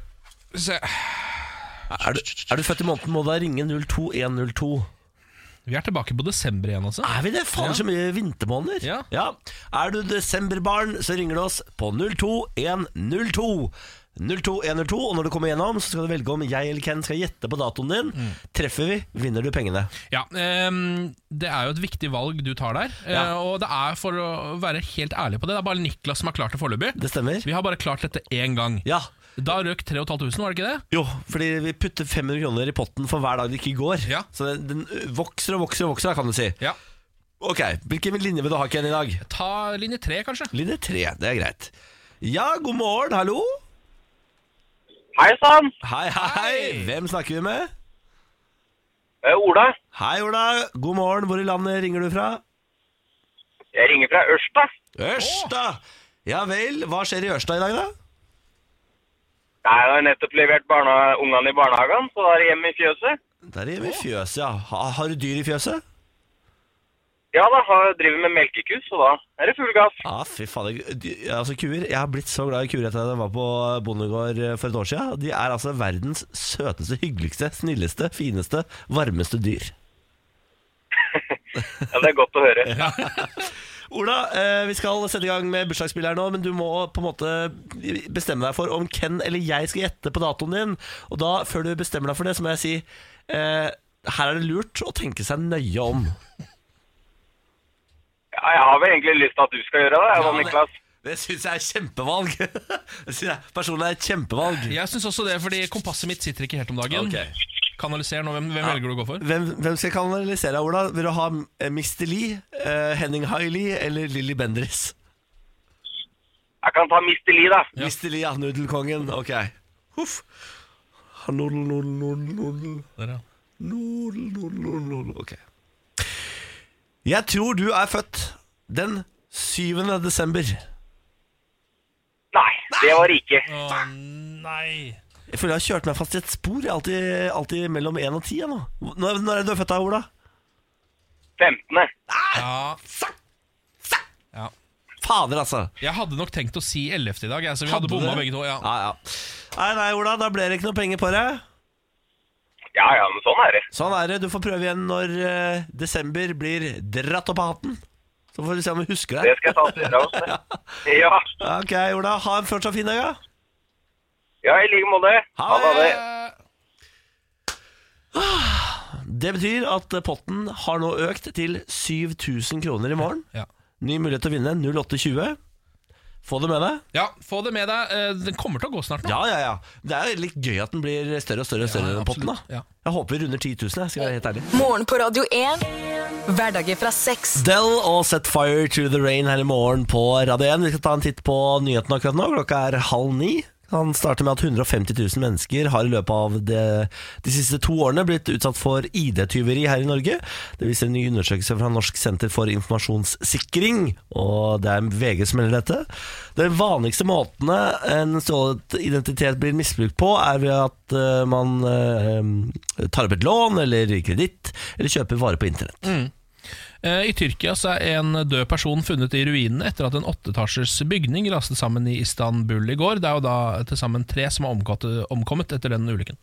Speaker 2: Se.
Speaker 1: Er du, er du født i måneden, må du da ringe 02102.
Speaker 2: Vi er tilbake på desember igjen, altså.
Speaker 1: Er vi det? Faen,
Speaker 2: Ja.
Speaker 1: så mye vintermåneder.
Speaker 2: Ja.
Speaker 1: Er du desemberbarn, så ringer du oss på 02102. 02102, og når du kommer gjennom, så skal du velge om jeg eller Ken skal gjette på datoen din. Treffer vi, vinner du pengene.
Speaker 2: Ja, ehm, Det er jo et viktig valg du tar der. eh,
Speaker 1: Ja.
Speaker 2: Og det er for å være helt ærlig på det, det er bare Niklas som har klart det foreløpig.
Speaker 1: Det stemmer?
Speaker 2: Vi har bare klart dette én gang.
Speaker 1: Ja.
Speaker 2: Da røk 3500, var det ikke det?
Speaker 1: Jo, fordi vi putter 500 kroner i potten for hver dag det ikke går.
Speaker 2: Ja.
Speaker 1: Så den, den ø, vokser og vokser og vokser, kan du si.
Speaker 2: Ja.
Speaker 1: Ok, hvilken linje vil du ha, Ken, i dag?
Speaker 2: Ta linje tre, kanskje.
Speaker 1: Linje tre, det er greit. Ja, god morgen, hallo.
Speaker 6: Hei sann!
Speaker 1: Hei, hei,
Speaker 2: Hei.
Speaker 1: Hvem snakker vi med?
Speaker 6: Eh, Ola,
Speaker 1: Hei, Ola. God morgen. Hvor i landet ringer du fra?
Speaker 6: jeg ringer fra Ørsta.
Speaker 1: Ørsta. Ja vel. Hva skjer i Ørsta i dag, da?
Speaker 6: Nei, Jeg har nettopp levert barna, ungene i barnehagen, så da er jeg hjemme i fjøset.
Speaker 1: Der hjemme i fjøset, ja. Ha, har du dyr i fjøset?
Speaker 6: Ja da, har, driver med melkeku, så da er det full gass.
Speaker 1: Ja, fy fader. Dy- Altså, kuer. Jeg har blitt så glad i kuer etter at jeg var på bondegård eh, for et år siden. De er altså verdens søteste, hyggeligste, snilleste, fineste, varmeste dyr.
Speaker 6: Ja, Det er godt å høre.
Speaker 1: Ola, eh, vi skal sette i gang med bursdagsspillet her nå, men du må på en måte bestemme deg for om Ken eller jeg skal gjette på datoen din. Og da, før du bestemmer deg for det, så må jeg si eh, her er det lurt å tenke seg nøye om.
Speaker 6: Ja, jeg har vel egentlig lyst til at du skal gjøre det, jeg da,
Speaker 1: Ja, det-
Speaker 6: Niklas.
Speaker 1: Det syns jeg er kjempevalg. Det synes jeg Personlig er et kjempevalg.
Speaker 2: Jeg syns også det, fordi kompasset mitt sitter ikke helt om dagen.
Speaker 1: Ok.
Speaker 2: Kanaliser nå, hvem, hvem velger du å gå for?
Speaker 1: Hvem, hvem skal jeg kanalisere, Ola? Vil du ha eh, Mr. Lee, eh, Henning Hailey eller Lilly Bendriss?
Speaker 6: Jeg kan ta Mr. Lee, da.
Speaker 1: Mr. Lee, ja. Nudelkongen. Ok. Huff. Nudel, nudel, nudel, nudel.
Speaker 2: Der, ja.
Speaker 1: Nodel, nodel, nodel, nodel. Ok. Jeg tror du er født den 7. desember.
Speaker 6: Nei, det var det ikke.
Speaker 2: Å, nei
Speaker 1: Jeg føler jeg har kjørt meg fast i et spor. Jeg er alltid, alltid mellom 1 og 10 jeg, nå. Når, når er det du er født da, Ola?
Speaker 6: 15.
Speaker 2: ja. ja.
Speaker 1: Fader, altså.
Speaker 2: Jeg hadde nok tenkt å si 11. i dag, jeg, så vi
Speaker 1: Hadde
Speaker 2: hadde,
Speaker 1: du
Speaker 2: bomma
Speaker 1: det?
Speaker 2: begge to. Ja.
Speaker 1: Ja, ja. Nei, nei, Ola, da ble det ikke noe penger på det.
Speaker 6: Ja ja, men sånn er det.
Speaker 1: Sånn er det. Du får prøve igjen når eh, desember blir dratt opp av hatten. Så får vi se om vi husker
Speaker 6: Det
Speaker 1: det.
Speaker 6: skal jeg ta til dere også. det. Ja,
Speaker 1: Ok, Ola. Ha en fortsatt fin dag, ja.
Speaker 6: ja i like måte. Ha det. ha det.
Speaker 2: Eh,
Speaker 1: Det betyr at potten har nå økt til 7000 kroner i morgen.
Speaker 2: Ja.
Speaker 1: Ny mulighet til å vinne 0820. Få det med deg.
Speaker 2: ja, få det med deg. Eh, Den kommer til å gå snart nå.
Speaker 1: Ja, ja, ja. Det er jo litt gøy at den blir større og større. og større
Speaker 2: Ja,
Speaker 1: den potten da
Speaker 2: absolutt. Ja.
Speaker 1: Jeg håper vi runder 10 000, jeg, skal jeg være helt ærlig.
Speaker 3: Morgen på Radio 1. Hverdager fra seks.
Speaker 1: Del og Set Fire to the Rain her i morgen på Radio 1. Vi skal ta en titt på nyhetene akkurat nå. Klokka er halv ni. Han starter med at 150 000 mennesker har i løpet av det, de siste to årene blitt utsatt for ID-tyveri her i Norge. Det viser en ny undersøkelse fra Norsk senter for informasjonssikring, og det er VG som melder dette. Den vanligste måtene en stjålet identitet blir misbrukt på, er ved at eh, man eh, tar opp et lån eller kreditt, eller kjøper varer på internett.
Speaker 2: Eh, I Tyrkia så er en død person funnet i ruinene etter at en åtteetasjers bygning raste sammen i Istanbul i går. Det er jo da til sammen tre som har omgått, omkommet etter den ulykken.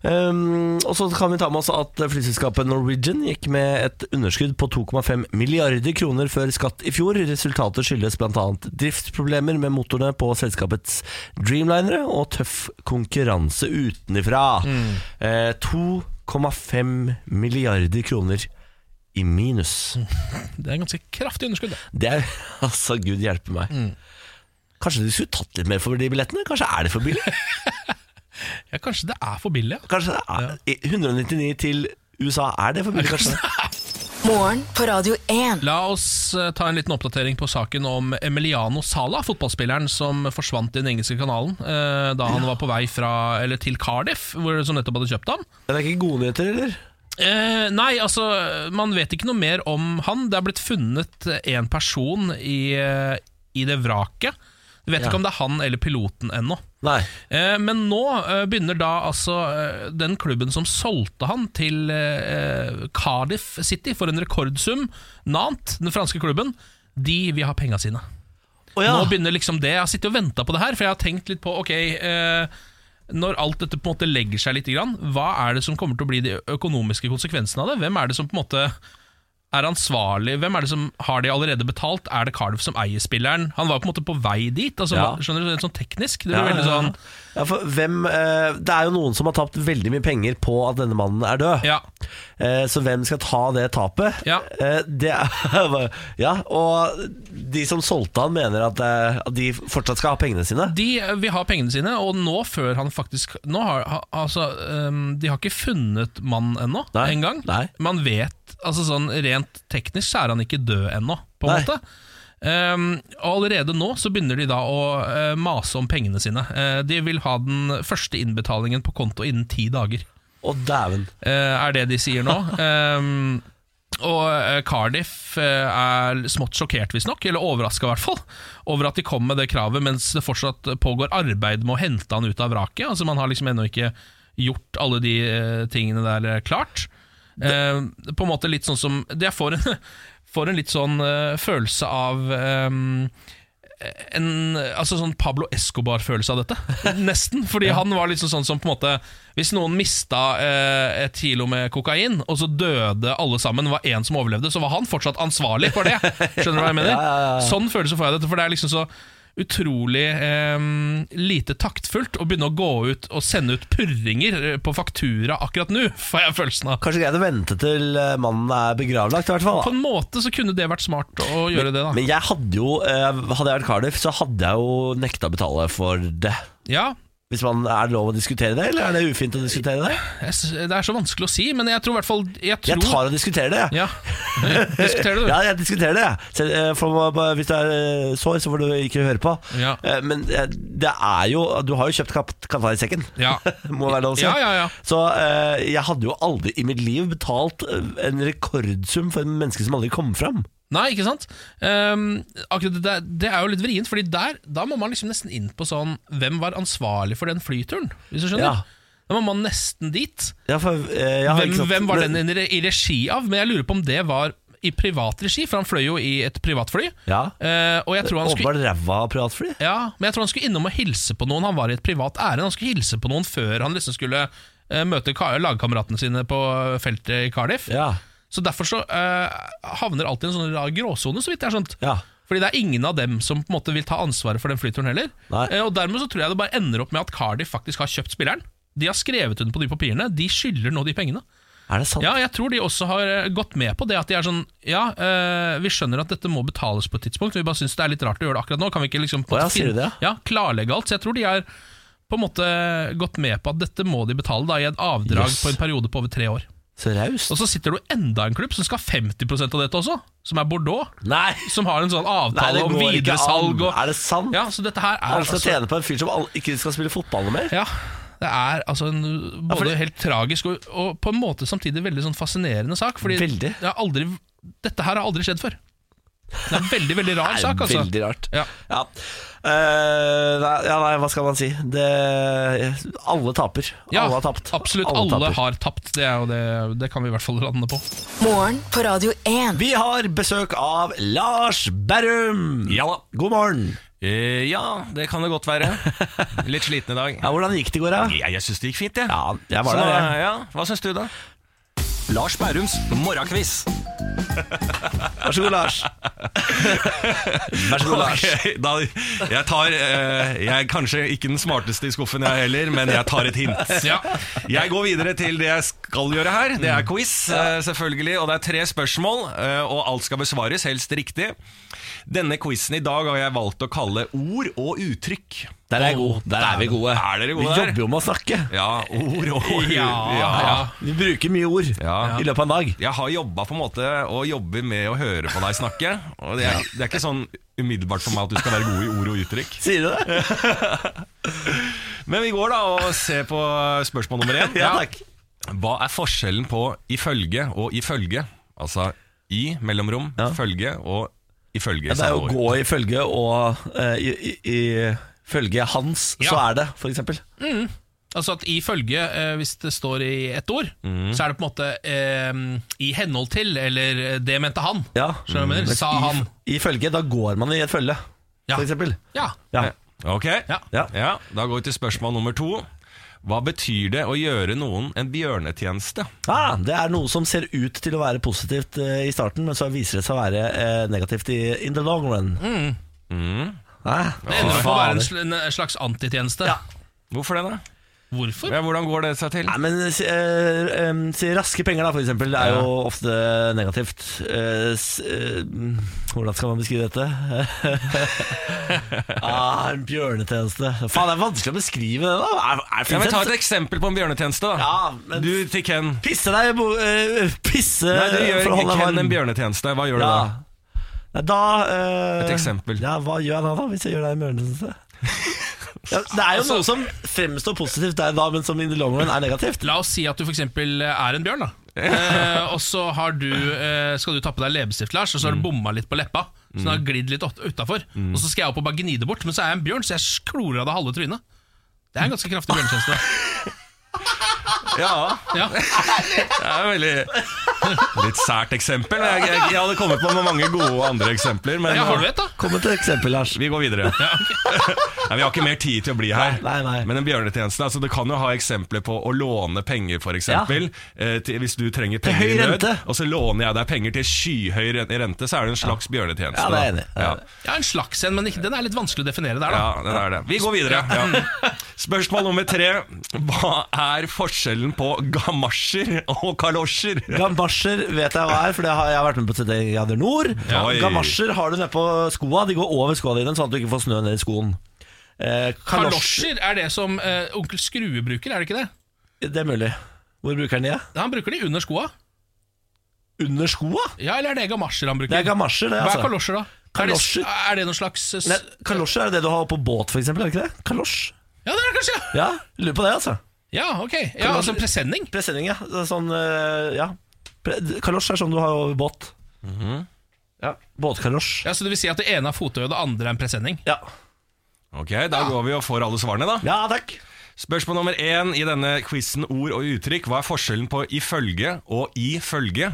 Speaker 1: Um, og så kan vi ta med oss at flyselskapet Norwegian gikk med et underskudd på 2,5 milliarder kroner før skatt i fjor. Resultatet skyldes bl.a. driftsproblemer med motorene på selskapets Dreamlinere og tøff konkurranse utenfra. Eh, 2,5 milliarder kroner i minus.
Speaker 2: Det er en ganske kraftig underskudd. det.
Speaker 1: Det er Altså, gud hjelpe meg. Kanskje du skulle tatt litt mer for de billettene? Kanskje er det for billig?
Speaker 2: Ja, Kanskje det er for billig? ja.
Speaker 1: Kanskje det er 199 til USA, er det for billig? Kanskje?
Speaker 3: Morgen på Radio 1.
Speaker 2: La oss eh, ta en liten oppdatering på saken om Emiliano Sala, fotballspilleren som forsvant i den engelske kanalen eh, da han var på vei fra, eller til Cardiff, hvor, som nettopp hadde kjøpt ham.
Speaker 1: Men det er ikke gode nyheter, eller?
Speaker 2: Eh, nei, altså, man vet ikke noe mer om han. Det er blitt funnet en person i, eh, i det vraket. Vi vet
Speaker 1: Ja.
Speaker 2: ikke om det er han eller piloten ennå.
Speaker 1: Nei.
Speaker 2: Eh, men nå eh, begynner da altså eh, den klubben som solgte han til eh, Cardiff City for en rekordsum, Nant, den franske klubben, de vil ha penga sine.
Speaker 1: Å ja.
Speaker 2: Nå begynner liksom det. Jeg har sittet og venta på det her, for jeg har tenkt litt på Ok, eh, når alt dette på en måte legger seg litt, grann, hva er det som kommer til å bli de økonomiske konsekvensene av det? Hvem er det som på en måte er ansvarlig? Hvem er det som har de allerede betalt? Er det Cardiff som eier spilleren? Han var jo på en måte på vei dit. Altså,
Speaker 1: Ja.
Speaker 2: hva- Skjønner du, det er sånn teknisk. Det blir
Speaker 1: Ja,
Speaker 2: veldig
Speaker 1: ja,
Speaker 2: sånn
Speaker 1: ja. ja, for hvem, eh, det er jo noen som har tapt veldig mye penger på at denne mannen er død.
Speaker 2: Ja.
Speaker 1: Eh, så hvem skal ta det tapet?
Speaker 2: Ja.
Speaker 1: Eh, det er, ja og de som solgte han, mener at, eh, at de fortsatt skal ha pengene sine.
Speaker 2: De vil ha pengene sine, og nå før han faktisk nå har, ha, altså, ehm, De har ikke funnet mannen ennå,
Speaker 1: Nei,
Speaker 2: engang.
Speaker 1: nei.
Speaker 2: Man vet altså sånn Rent teknisk så er han ikke død ennå, på en
Speaker 1: Nei.
Speaker 2: måte. Ehm, og allerede nå så begynner de da å eh, mase om pengene sine. Eh, de vil ha den første innbetalingen på konto innen ti dager,
Speaker 1: Å, dæven.
Speaker 2: eh, er det de sier nå. Ehm, og eh, Cardiff eh, er smått sjokkert, visstnok, eller overraska i hvert fall, over at de kom med det kravet mens det fortsatt pågår arbeid med å hente han ut av vraket. Altså Man har liksom ennå ikke gjort alle de eh, tingene der eh, klart. Eh, på en måte litt sånn som Jeg får en, får en litt sånn eh, følelse av eh, en altså sånn Pablo Escobar-følelse av dette, nesten. Fordi han var liksom sånn som på en måte Hvis noen mista eh, et kilo med kokain, og så døde alle sammen, det var én som overlevde, så var han fortsatt ansvarlig for det. Skjønner du hva jeg mener? Sånn følelse får jeg dette, for det er liksom så utrolig eh, lite taktfullt å begynne å gå ut og sende ut purringer eh, på faktura akkurat nå, får jeg følelsen av.
Speaker 1: Kanskje greit å vente til eh, mannen er begravlagt, i hvert fall.
Speaker 2: På
Speaker 1: Da.
Speaker 2: en måte så kunne det vært smart å gjøre det, da.
Speaker 1: Men jeg hadde jo eh, Hadde jeg vært Cardiff, så hadde jeg jo nekta å betale for det.
Speaker 2: Ja,
Speaker 1: Hvis man Er det lov å diskutere det, eller er det ufint å diskutere det?
Speaker 2: jeg, s- det er så vanskelig å si, men jeg tror i hvert fall Jeg, tror,
Speaker 1: Jeg tar og diskuterer det, jeg.
Speaker 2: Ja, diskuterer du.
Speaker 1: Ja, jeg diskuterer det. jeg. Selv, eh, for, eh, hvis det er eh, sår, så får du ikke høre på.
Speaker 2: Ja.
Speaker 1: Eh, Men eh, det er jo Du har jo kjøpt kap- katta i sekken.
Speaker 2: Ja.
Speaker 1: Må være lov å si.
Speaker 2: Ja, ja, ja.
Speaker 1: Så eh, jeg hadde jo aldri i mitt liv betalt eh, en rekordsum for en menneske som aldri kom fram.
Speaker 2: Nei, ikke sant? Ehm, akkurat det, der, det er jo litt vrient, Fordi der da må man liksom nesten inn på sånn Hvem var ansvarlig for den flyturen? Hvis du skjønner?
Speaker 1: Ja.
Speaker 2: Da må man nesten dit.
Speaker 1: Ja, for, eh, ja,
Speaker 2: Hvem,
Speaker 1: ikke sant?
Speaker 2: hvem var
Speaker 1: Men-
Speaker 2: den i, re- i regi av? Men jeg lurer på om det var i privat regi, for han fløy jo i et privatfly.
Speaker 1: Ja.
Speaker 2: Eh, og jeg tror han skulle
Speaker 1: Åpenbart ræva privatfly.
Speaker 2: Ja, men jeg tror han skulle innom og hilse på noen. Han var i et privat ærend. Han skulle hilse på noen før han liksom skulle eh, møte ka- lagkameratene sine på feltet i Cardiff.
Speaker 1: Ja.
Speaker 2: Så derfor så eh, havner alt i en sånn rar gråsone, så vidt jeg har skjønt.
Speaker 1: Ja.
Speaker 2: Fordi det er ingen av dem som på en måte vil ta ansvaret for den flyturen heller.
Speaker 1: Nei.
Speaker 2: Eh, og dermed så tror jeg det bare ender opp med at Cardiff faktisk har kjøpt spilleren. De har skrevet under på de papirene. De skylder nå de pengene.
Speaker 1: Er det sant?
Speaker 2: Ja, jeg tror de også har eh, gått med på det at de er sånn Ja, eh, vi skjønner at dette må betales på et tidspunkt, vi bare syns det er litt rart å gjøre det akkurat nå. Kan vi ikke liksom på
Speaker 1: Å ja,
Speaker 2: en måte
Speaker 1: sier du
Speaker 2: finne-
Speaker 1: det?
Speaker 2: Ja, klarlegge alt. Så jeg tror de har på en måte gått med på at dette må de betale da, i et avdrag
Speaker 1: Yes.
Speaker 2: på en periode på over tre år.
Speaker 1: Så raust.
Speaker 2: Og så sitter det jo enda en klubb som skal ha 50 av dette også, som er Bordeaux.
Speaker 1: Nei!
Speaker 2: Som har en sånn
Speaker 1: Nei,
Speaker 2: avtale
Speaker 1: det
Speaker 2: om
Speaker 1: går ikke an.
Speaker 2: videresalg og
Speaker 1: Er det sant?
Speaker 2: Ja, så dette her er
Speaker 1: Han
Speaker 2: altså-
Speaker 1: skal tjene på en fyr som all- ikke skal spille fotball noe mer?
Speaker 2: Ja, det er altså en både
Speaker 1: fordi-
Speaker 2: helt tragisk og, og på en måte samtidig veldig sånn fascinerende sak. Fordi
Speaker 1: Veldig.
Speaker 2: det har aldri, dette her har aldri skjedd før. Det er en veldig, veldig rar
Speaker 1: Det er
Speaker 2: sak, altså.
Speaker 1: Veldig rart.
Speaker 2: Ja.
Speaker 1: Ja. Eh, nei, ja, nei, hva skal man si? Det, alle taper.
Speaker 2: Ja,
Speaker 1: alle har tapt.
Speaker 2: Absolutt alle, har tapt. Det, er jo det, det kan vi i hvert fall lande på.
Speaker 3: Morgen på Radio 1.
Speaker 1: Vi har besøk av Lars Berrum.
Speaker 7: Ja da.
Speaker 1: God morgen.
Speaker 7: Eh, ja, det kan det godt være. Litt sliten i dag.
Speaker 1: Ja, hvordan gikk det i går, da?
Speaker 7: Jeg, jeg syns det gikk fint, jeg.
Speaker 1: Ja, jeg var
Speaker 7: Så,
Speaker 1: der,
Speaker 7: eh, ja. Hva syns du, da? Lars Bærums morgenkviss.
Speaker 1: Vær så god, Lars. Vær så god, Lars.
Speaker 7: da, jeg tar eh, Jeg er kanskje ikke den smarteste i skuffen, jeg heller, men jeg tar et hint.
Speaker 2: Ja.
Speaker 7: Jeg går videre til det jeg skal gjøre her. Det er quiz, eh, selvfølgelig. Og det er tre spørsmål, eh, og alt skal besvares, helst riktig. Denne quizen i dag har jeg valgt å kalle ord og uttrykk.
Speaker 1: Der er jeg god. Der er vi gode.
Speaker 7: Er dere gode
Speaker 1: vi
Speaker 7: der?
Speaker 1: jobber jo med å snakke.
Speaker 7: Ja, ord og
Speaker 2: Ja, ja.
Speaker 1: Vi bruker mye ord
Speaker 7: Ja.
Speaker 1: i løpet av en dag.
Speaker 7: Jeg har jobba på en måte og jobber med å høre på deg snakke. Og det er, det er ikke sånn umiddelbart for meg at du skal være god i ord og uttrykk.
Speaker 1: Sier du det?
Speaker 7: Men vi går da og ser på spørsmål nummer én.
Speaker 1: Ja, takk.
Speaker 7: Hva er forskjellen på ifølge og ifølge? Altså i mellomrom,
Speaker 1: Ja.
Speaker 7: følge og ifølge.
Speaker 1: Ja, det er jo å
Speaker 7: samme ord.
Speaker 1: gå i følge og eh, i, i, i følge hans, så
Speaker 2: Ja.
Speaker 1: er det, for eksempel.
Speaker 2: Altså at ifølge, eh, hvis det står i ett ord,
Speaker 7: Mhm.
Speaker 2: så er det på en måte eh, i henhold til, eller eh, det mente han.
Speaker 1: Ja.
Speaker 2: Skjønner du hva jeg mener?
Speaker 1: Mens
Speaker 2: Sa
Speaker 1: i-
Speaker 2: han.
Speaker 1: I følge, da går man i et følge,
Speaker 2: Ja.
Speaker 1: for eksempel.
Speaker 2: Ja.
Speaker 1: Ja.
Speaker 7: Ok,
Speaker 2: Ja.
Speaker 7: Ja, Da går vi til spørsmål nummer to. Hva betyr det å gjøre noen en bjørnetjeneste?
Speaker 1: Ah, det er noe som ser ut til å være positivt eh, i starten, men så viser det seg å være eh, negativt i, in the long run. Ah,
Speaker 2: Mm. Det ender opp med å være en sl- en slags antitjeneste.
Speaker 1: Ja.
Speaker 7: Hvorfor det, da?
Speaker 2: Hvorfor?
Speaker 7: Ja, hvordan går det seg til?
Speaker 1: Nei, men si, eh, em, si raske penger, da, for eksempel. Det er jo ofte negativt. Eh, s, eh, hvordan skal man beskrive dette? ah, en bjørnetjeneste. Faen, det er vanskelig å beskrive det, da. Er, er,
Speaker 7: Ja,
Speaker 1: finnes
Speaker 7: men Ta
Speaker 1: det-
Speaker 7: et eksempel på en bjørnetjeneste. da
Speaker 1: Ja, men-
Speaker 7: Du til Ken.
Speaker 1: Pisse deg i bo... eh, pisse
Speaker 7: Nei, du
Speaker 1: for å holde
Speaker 7: gjør ikke
Speaker 1: deg
Speaker 7: Ken
Speaker 1: varm.
Speaker 7: en bjørnetjeneste. Hva gjør du
Speaker 1: Ja.
Speaker 7: da?
Speaker 1: Nei, da eh,
Speaker 7: Et eksempel.
Speaker 1: Ja, Hva gjør jeg da, da hvis jeg gjør deg en bjørnetjeneste? ja, det er jo
Speaker 7: Altså-
Speaker 1: noe som fremstår positivt der da, men som in the long run er negativt.
Speaker 2: La oss si at du f.eks. er en bjørn, da. Eh, og så har du, eh, skal du ta på deg leppestift, Lars, og så har
Speaker 1: Mm.
Speaker 2: du bomma litt på leppa. Så den har glidd litt utafor. Og så skal jeg opp og bare gni det bort, men så er jeg en bjørn, så jeg klorer av deg halve trynet. Det er en ganske kraftig bjørnetjeneste.
Speaker 7: Ja,
Speaker 2: Ja.
Speaker 7: det er veldig Litt sært eksempel. Jeg, jeg, jeg hadde kommet på med mange gode andre eksempler, men
Speaker 2: ja, har du et, da?
Speaker 1: Kom med et eksempel, Lars.
Speaker 7: vi går videre. Nei, vi har ikke mer tid til å bli her.
Speaker 1: Nei, nei, nei.
Speaker 7: Men en bjørnetjeneste altså, Det kan jo ha eksempler på å låne penger, f.eks. Eh, til- hvis du trenger penger
Speaker 1: høy
Speaker 7: i nød,
Speaker 1: rente.
Speaker 7: og så låner jeg deg penger til skyhøy ren- rente, så er det en slags bjørnetjeneste.
Speaker 1: Ja, det er jeg
Speaker 7: da.
Speaker 1: enig i. Det er
Speaker 7: Ja.
Speaker 1: jeg
Speaker 2: Ja, En slags en, men ikke- den er litt vanskelig å definere der, da.
Speaker 7: Ja, det er det. Vi går videre. Ja. Spørsmål nummer tre. Hva er forskjellen på gamasjer og kalosjer?
Speaker 1: Gamasjer vet jeg hva er, for det har jeg har vært med på CD Grader Nord.
Speaker 7: Ja. Oi.
Speaker 1: Gamasjer har du nedpå skoa. De går over skoa dine, sånn at du ikke får snø ned i skoen. Eh, kalosjer
Speaker 2: Kalosjer er det som eh, onkel Skrue bruker, er det ikke det?
Speaker 1: Det er mulig. Hvor bruker den de?
Speaker 2: Han bruker de under skoa.
Speaker 1: Under skoa?
Speaker 2: Ja, eller er det gamasjer han bruker?
Speaker 1: Det er gamasjer, det.
Speaker 2: Hva
Speaker 1: altså
Speaker 2: er kalosjer, da?
Speaker 1: Kalosjer?
Speaker 2: Er det, er det noen slags s-
Speaker 1: Nei, kalosjer er det det du har på båt, for eksempel, er det ikke det? Kalosj?
Speaker 2: Ja, det er det kanskje! ja.
Speaker 1: Ja, lurer på det, altså.
Speaker 2: Ja, ok. Ja, altså en presenning.
Speaker 1: Presenning, ja. Det er Sånn, eh, ja. Pre kalosj er sånn du har over båt.
Speaker 7: Mhm.
Speaker 1: Ja, Båtkalosj.
Speaker 2: Ja, Så det vil si at det ene er fottøy, og det andre er en presenning?
Speaker 1: Ja.
Speaker 7: Ok, Da går vi og får alle svarene, da.
Speaker 1: ja, takk.
Speaker 7: Spørsmål nummer én i denne quizen ord og uttrykk. Hva er forskjellen på ifølge og ifølge?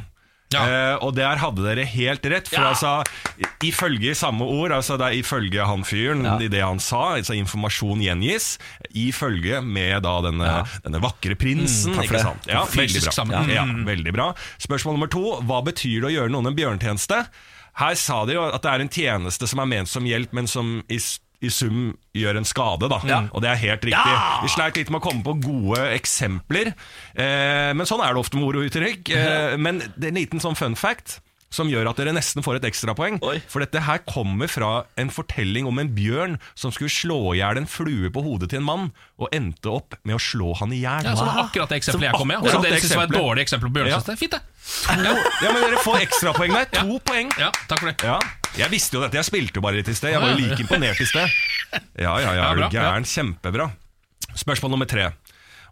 Speaker 2: Ja.
Speaker 7: Eh, og der hadde dere helt rett, for altså i- ifølge samme ord, altså det er ifølge han fyren, i det han sa, altså informasjon gjengis, ifølge med da denne, denne vakre prinsen,
Speaker 1: Mm, takk for
Speaker 7: ikke
Speaker 1: det.
Speaker 7: sant? Ja, veldig
Speaker 2: Fysisk
Speaker 7: bra.
Speaker 2: sammen.
Speaker 7: Ja, veldig bra. Spørsmål nummer to. Hva betyr det å gjøre noen en bjørntjeneste? Her sa de jo at det er en tjeneste som er ment som hjelp, men som i, s- i sum gjør en skade. da Og det er helt riktig. Vi sleit litt med å komme på gode eksempler, eh, men sånn er det ofte med ord og uttrykk. Eh, men det er en liten sånn fun fact. Som gjør at dere nesten får et ekstrapoeng.
Speaker 1: Oi.
Speaker 7: For dette her kommer fra en fortelling om en bjørn som skulle slå i hjel en flue på hodet til en mann, og endte opp med å slå han i hjel.
Speaker 2: Ja, så det var akkurat det eksempelet
Speaker 1: Som
Speaker 2: jeg kom med.
Speaker 1: akkurat
Speaker 2: Som dere
Speaker 7: det
Speaker 2: synes var et
Speaker 7: eksempelet.
Speaker 2: dårlig eksempel på bjørnetjeneste. Fint, det.
Speaker 7: Ja, men dere får ekstrapoeng der. To poeng.
Speaker 2: Ja, takk for det.
Speaker 7: Ja. Jeg visste jo dette. Jeg spilte jo bare litt i sted. Jeg var jo like imponert i sted. Ja, ja, ja.
Speaker 2: Ja,
Speaker 7: Er du
Speaker 2: bra, bra.
Speaker 7: gæren? Kjempebra. Spørsmål nummer tre.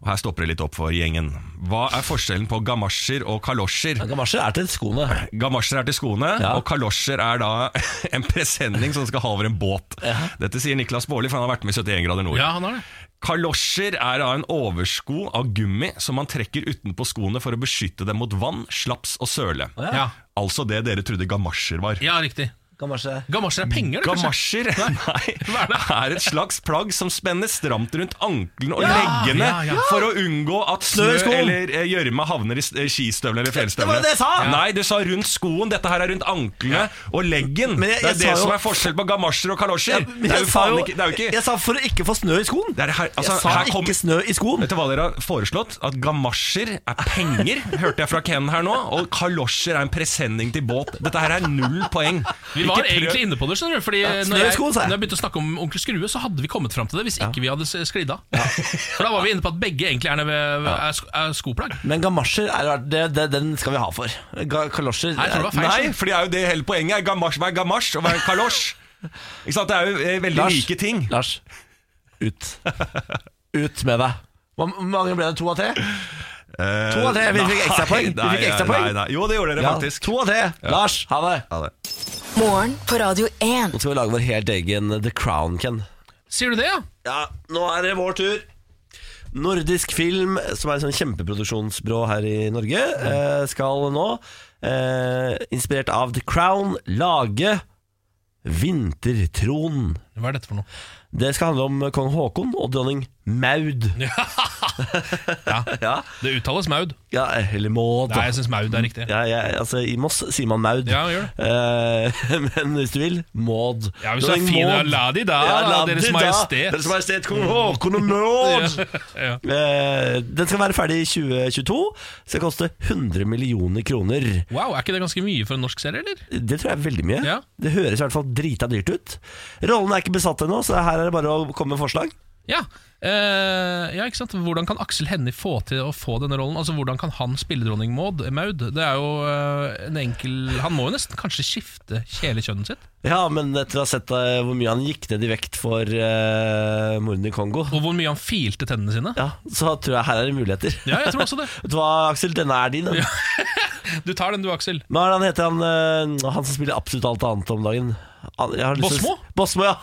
Speaker 7: Og her stopper det litt opp for gjengen. Hva er forskjellen på gamasjer og kalosjer?
Speaker 1: Gamasjer er til skoene.
Speaker 7: Gamasjer er til skoene,
Speaker 1: Ja.
Speaker 7: og kalosjer er da en presenning som skal ha over en båt. Dette sier Niklas Baarli, for han har vært med i 71 grader nord.
Speaker 2: Ja, han har det.
Speaker 7: Kalosjer er da en oversko av gummi som man trekker utenpå skoene for å beskytte dem mot vann, slaps og søle.
Speaker 2: Ja,
Speaker 7: Altså det dere trodde gamasjer var.
Speaker 2: ja riktig.
Speaker 1: Gamasjer er
Speaker 2: Gamasjer er penger, det, kanskje?
Speaker 7: Gamasjer nei,
Speaker 2: Hva er det?
Speaker 7: er et slags plagg som spenner stramt rundt ankelen og
Speaker 2: Ja,
Speaker 7: leggene
Speaker 2: ja, ja.
Speaker 7: for å unngå at snø
Speaker 1: i skoen.
Speaker 7: eller eh, gjørme havner i s- eh, skistøvlene eller
Speaker 1: Det var
Speaker 7: fjellstøvlene.
Speaker 1: det jeg sa! Ja.
Speaker 7: Nei, du sa rundt skoen. Dette her er rundt anklene og leggen.
Speaker 1: Men jeg-
Speaker 7: det
Speaker 1: jeg
Speaker 7: er det
Speaker 1: sa jo-
Speaker 7: som er forskjell på gamasjer og kalosjer.
Speaker 1: Jeg,
Speaker 7: det er jo
Speaker 1: sa
Speaker 7: faen
Speaker 1: jo
Speaker 7: ikke, det er jo ikke
Speaker 1: Jeg sa for å ikke få snø i skoen.
Speaker 7: det er her, altså,
Speaker 1: jeg sa
Speaker 7: her kom-
Speaker 1: ikke snø i skoen.
Speaker 7: Vet du hva dere har foreslått? At gamasjer er penger, hørte jeg fra Ken her nå. Og kalosjer er en presenning til båt. Dette her er null poeng.
Speaker 2: Vi var egentlig inne på det, skjønner du. Fordi
Speaker 1: snø
Speaker 2: når,
Speaker 1: i
Speaker 2: jeg,
Speaker 1: skoen, sa jeg.
Speaker 2: når jeg begynte å snakke om onkel Skrue, så hadde vi kommet fram til det hvis ikke vi hadde s- sklidd av. For da var vi inne på at begge egentlig er, neve- er, sko- er skoplagg.
Speaker 1: Men gamasjer, er, det, det, den skal vi ha for. Ga, kalosjer
Speaker 2: Nei, jeg tror det var feil.
Speaker 7: Nei, for det er jo det hele poenget. er Gamasj, hva er gamasj, og hva er kalosj? Ikke sant, Det er jo eh, veldig
Speaker 1: Lars.
Speaker 7: like ting.
Speaker 1: Lars, ut. Ut med deg. Hvor mange ble det? To av tre? To av tre, vi fikk
Speaker 7: Nei,
Speaker 1: ekstrapoeng. Vi
Speaker 7: nei,
Speaker 1: fikk ekstrapoeng.
Speaker 7: Nei, nei. Jo, det gjorde dere
Speaker 1: Ja,
Speaker 7: faktisk.
Speaker 1: to av tre. Lars, ha det.
Speaker 7: Ja, det.
Speaker 3: Morgen på Radio 1.
Speaker 1: Nå skal vi lage vår helt egen eh, The Crown, Ken.
Speaker 2: Sier du det, ja?
Speaker 1: Ja, nå er det vår tur. Nordisk Film, som er et sånn kjempeproduksjonsbyrå her i Norge, eh, skal nå, eh, inspirert av The Crown, lage Vintertronen
Speaker 2: Hva er dette for noe?
Speaker 1: Det skal handle om kong Haakon og dronning Maud.
Speaker 2: Ja,
Speaker 1: Ja,
Speaker 2: Det uttales Maud.
Speaker 1: ja eller Maud.
Speaker 2: Nei, jeg syns Maud er riktig.
Speaker 1: Ja, jeg, altså, I Moss sier man Maud.
Speaker 2: Ja, gjør
Speaker 1: Eh, men hvis du vil, Maud.
Speaker 2: Ja, hvis du er fin, ja, la de da,
Speaker 1: la
Speaker 2: Deres
Speaker 1: de da.
Speaker 2: Majestet.
Speaker 1: Deres Majestet kong Haakon og Maud!
Speaker 2: Ja.
Speaker 1: Eh, den skal være ferdig i 2022. Skal koste 100 millioner kroner.
Speaker 2: Wow, Er ikke det ganske mye for en norsk serie, eller?
Speaker 1: Det tror jeg er veldig mye.
Speaker 2: Ja.
Speaker 1: Det høres i hvert fall drita dyrt ut. Rollen er ikke besatt ennå, så her er det bare å komme med forslag.
Speaker 2: Ja. Eh, ja, ikke sant? Hvordan kan Aksel Hennie få til å få denne rollen? Altså, Hvordan kan han spille dronning Maud? Maud? Det er jo eh, en enkel Han må jo nesten kanskje skifte kjælekjønnet sitt.
Speaker 1: Ja, men etter å ha sett eh, hvor mye han gikk ned i vekt for uh, mordene i Kongo,
Speaker 2: Og hvor mye han filte tennene sine.
Speaker 1: ja, så tror jeg her er det muligheter.
Speaker 2: Ja, jeg tror også det.
Speaker 1: Vet du hva, Aksel? Denne er din. Den.
Speaker 2: Du tar den du, Aksel.
Speaker 1: Hva er det han heter, han, eh, han som spiller absolutt alt annet om dagen? Han- jeg har lyst til å-
Speaker 2: Bosmo?
Speaker 1: Bosmo, ja.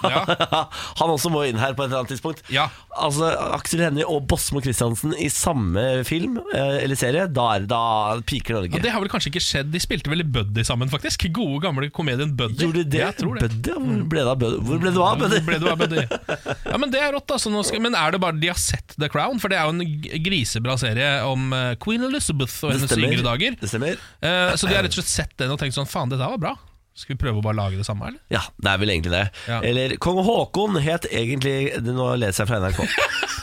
Speaker 2: Ja.
Speaker 1: han også må inn her på et eller annet tidspunkt.
Speaker 2: Ja.
Speaker 1: Altså, Aksel Hennie og Bosmo Christiansen i samme film eh, eller serie, da, er, det- da piker Norge.
Speaker 2: Ja, det har vel kanskje ikke skjedd. De spilte vel i Buddy sammen, faktisk. Gode, gamle komedien Buddy.
Speaker 1: Gjorde de det?
Speaker 2: Jeg tror det. Mm.
Speaker 1: Buddy, ja. Hvor ble det av Buddy? Hvor ble du av, Buddy?
Speaker 2: Hvor Ble du av Buddy? Ja, men det er rått, altså. Nå skal, men er det bare de har sett The Crown? For det er jo en g- grisebra serie om eh, Queen Elizabeth og hennes yngre dager.
Speaker 1: det stemmer.
Speaker 2: Eh, så de har rett og slett sett den og tenkt sånn Faen, dette her var bra. Skal vi prøve å bare lage det samme, eller?
Speaker 1: Ja, det er vel egentlig det.
Speaker 2: Ja.
Speaker 1: Eller Kong Haakon het egentlig Nå leser jeg fra NRK.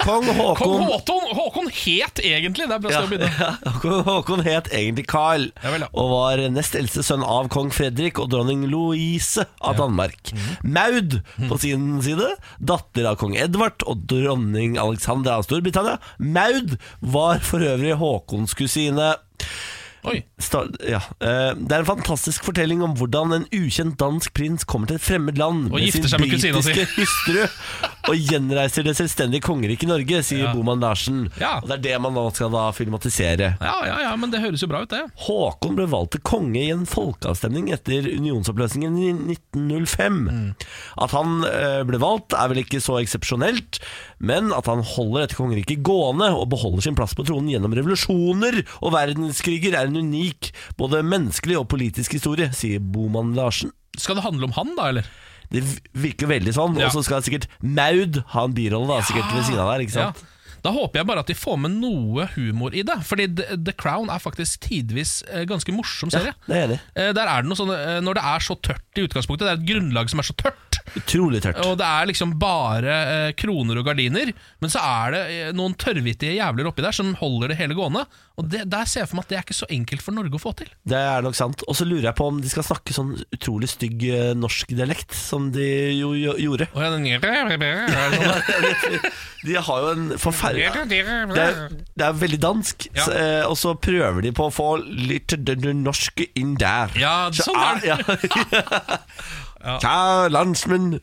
Speaker 1: Kong Haakon
Speaker 2: Kong Håkon, Håkon het egentlig! Det er bra
Speaker 1: Ja,
Speaker 2: sted å begynne.
Speaker 1: ja. Kong Haakon het egentlig Carl,
Speaker 2: Ja vel, ja.
Speaker 1: og var nest eldste sønn av kong Fredrik og dronning Louise av Danmark.
Speaker 2: Mhm.
Speaker 1: Maud, på sin side, datter av kong Edvard og dronning Alexandra av Storbritannia. Maud var for øvrig Haakons kusine.
Speaker 2: Oi.
Speaker 1: Sta- Ja. eh, Det er en fantastisk fortelling om hvordan en ukjent dansk prins kommer til et fremmed land
Speaker 2: Og gifter seg med kusina si.
Speaker 1: britiske hustru og gjenreiser det selvstendige kongeriket Norge, sier
Speaker 2: Ja.
Speaker 1: Boman Larsen.
Speaker 2: Ja.
Speaker 1: Og det er det man nå skal da filmatisere.
Speaker 2: Ja, ja, ja, men det høres jo bra ut, det.
Speaker 1: Håkon ble valgt til konge i en folkeavstemning etter unionsoppløsningen i 1905. At han eh, ble valgt er vel ikke så eksepsjonelt, men at han holder dette kongeriket gående og beholder sin plass på tronen gjennom revolusjoner og verdenskriger er en unik både menneskelig og politisk historie, sier Boman Larsen.
Speaker 2: Skal det handle om han, da, eller?
Speaker 1: Det virker veldig sånn,
Speaker 2: Ja.
Speaker 1: og så skal sikkert Maud ha en birolle da, sikkert ved siden av der, ikke sant?
Speaker 2: Ja. Da håper jeg bare at de får med noe humor i det. Fordi The The Crown er faktisk tidvis eh, ganske morsom serie.
Speaker 1: det er jeg enig i.
Speaker 2: Eh, Der er det noe sånn, eh, Når det er så tørt i utgangspunktet, det er et grunnlag som er så tørt,
Speaker 1: Utrolig tørt.
Speaker 2: og det er liksom bare eh, kroner og gardiner, men så er det eh, noen tørrvittige jævler oppi der som holder det hele gående. Og det, Der ser jeg for meg at det er ikke så enkelt for Norge å få til.
Speaker 1: Det er nok sant. Og så lurer jeg på om de skal snakke sånn utrolig stygg eh, norsk dialekt, som de jo, jo gjorde.
Speaker 2: Og jeg, den,
Speaker 1: De har jo en forferdelig det er, det er veldig dansk,
Speaker 2: Ja.
Speaker 1: så, eh, og så prøver de på å få litt d- d- norsk inn der.
Speaker 2: Ja,
Speaker 1: Så
Speaker 2: sånn er det.
Speaker 1: ja. Kjære landsmenn,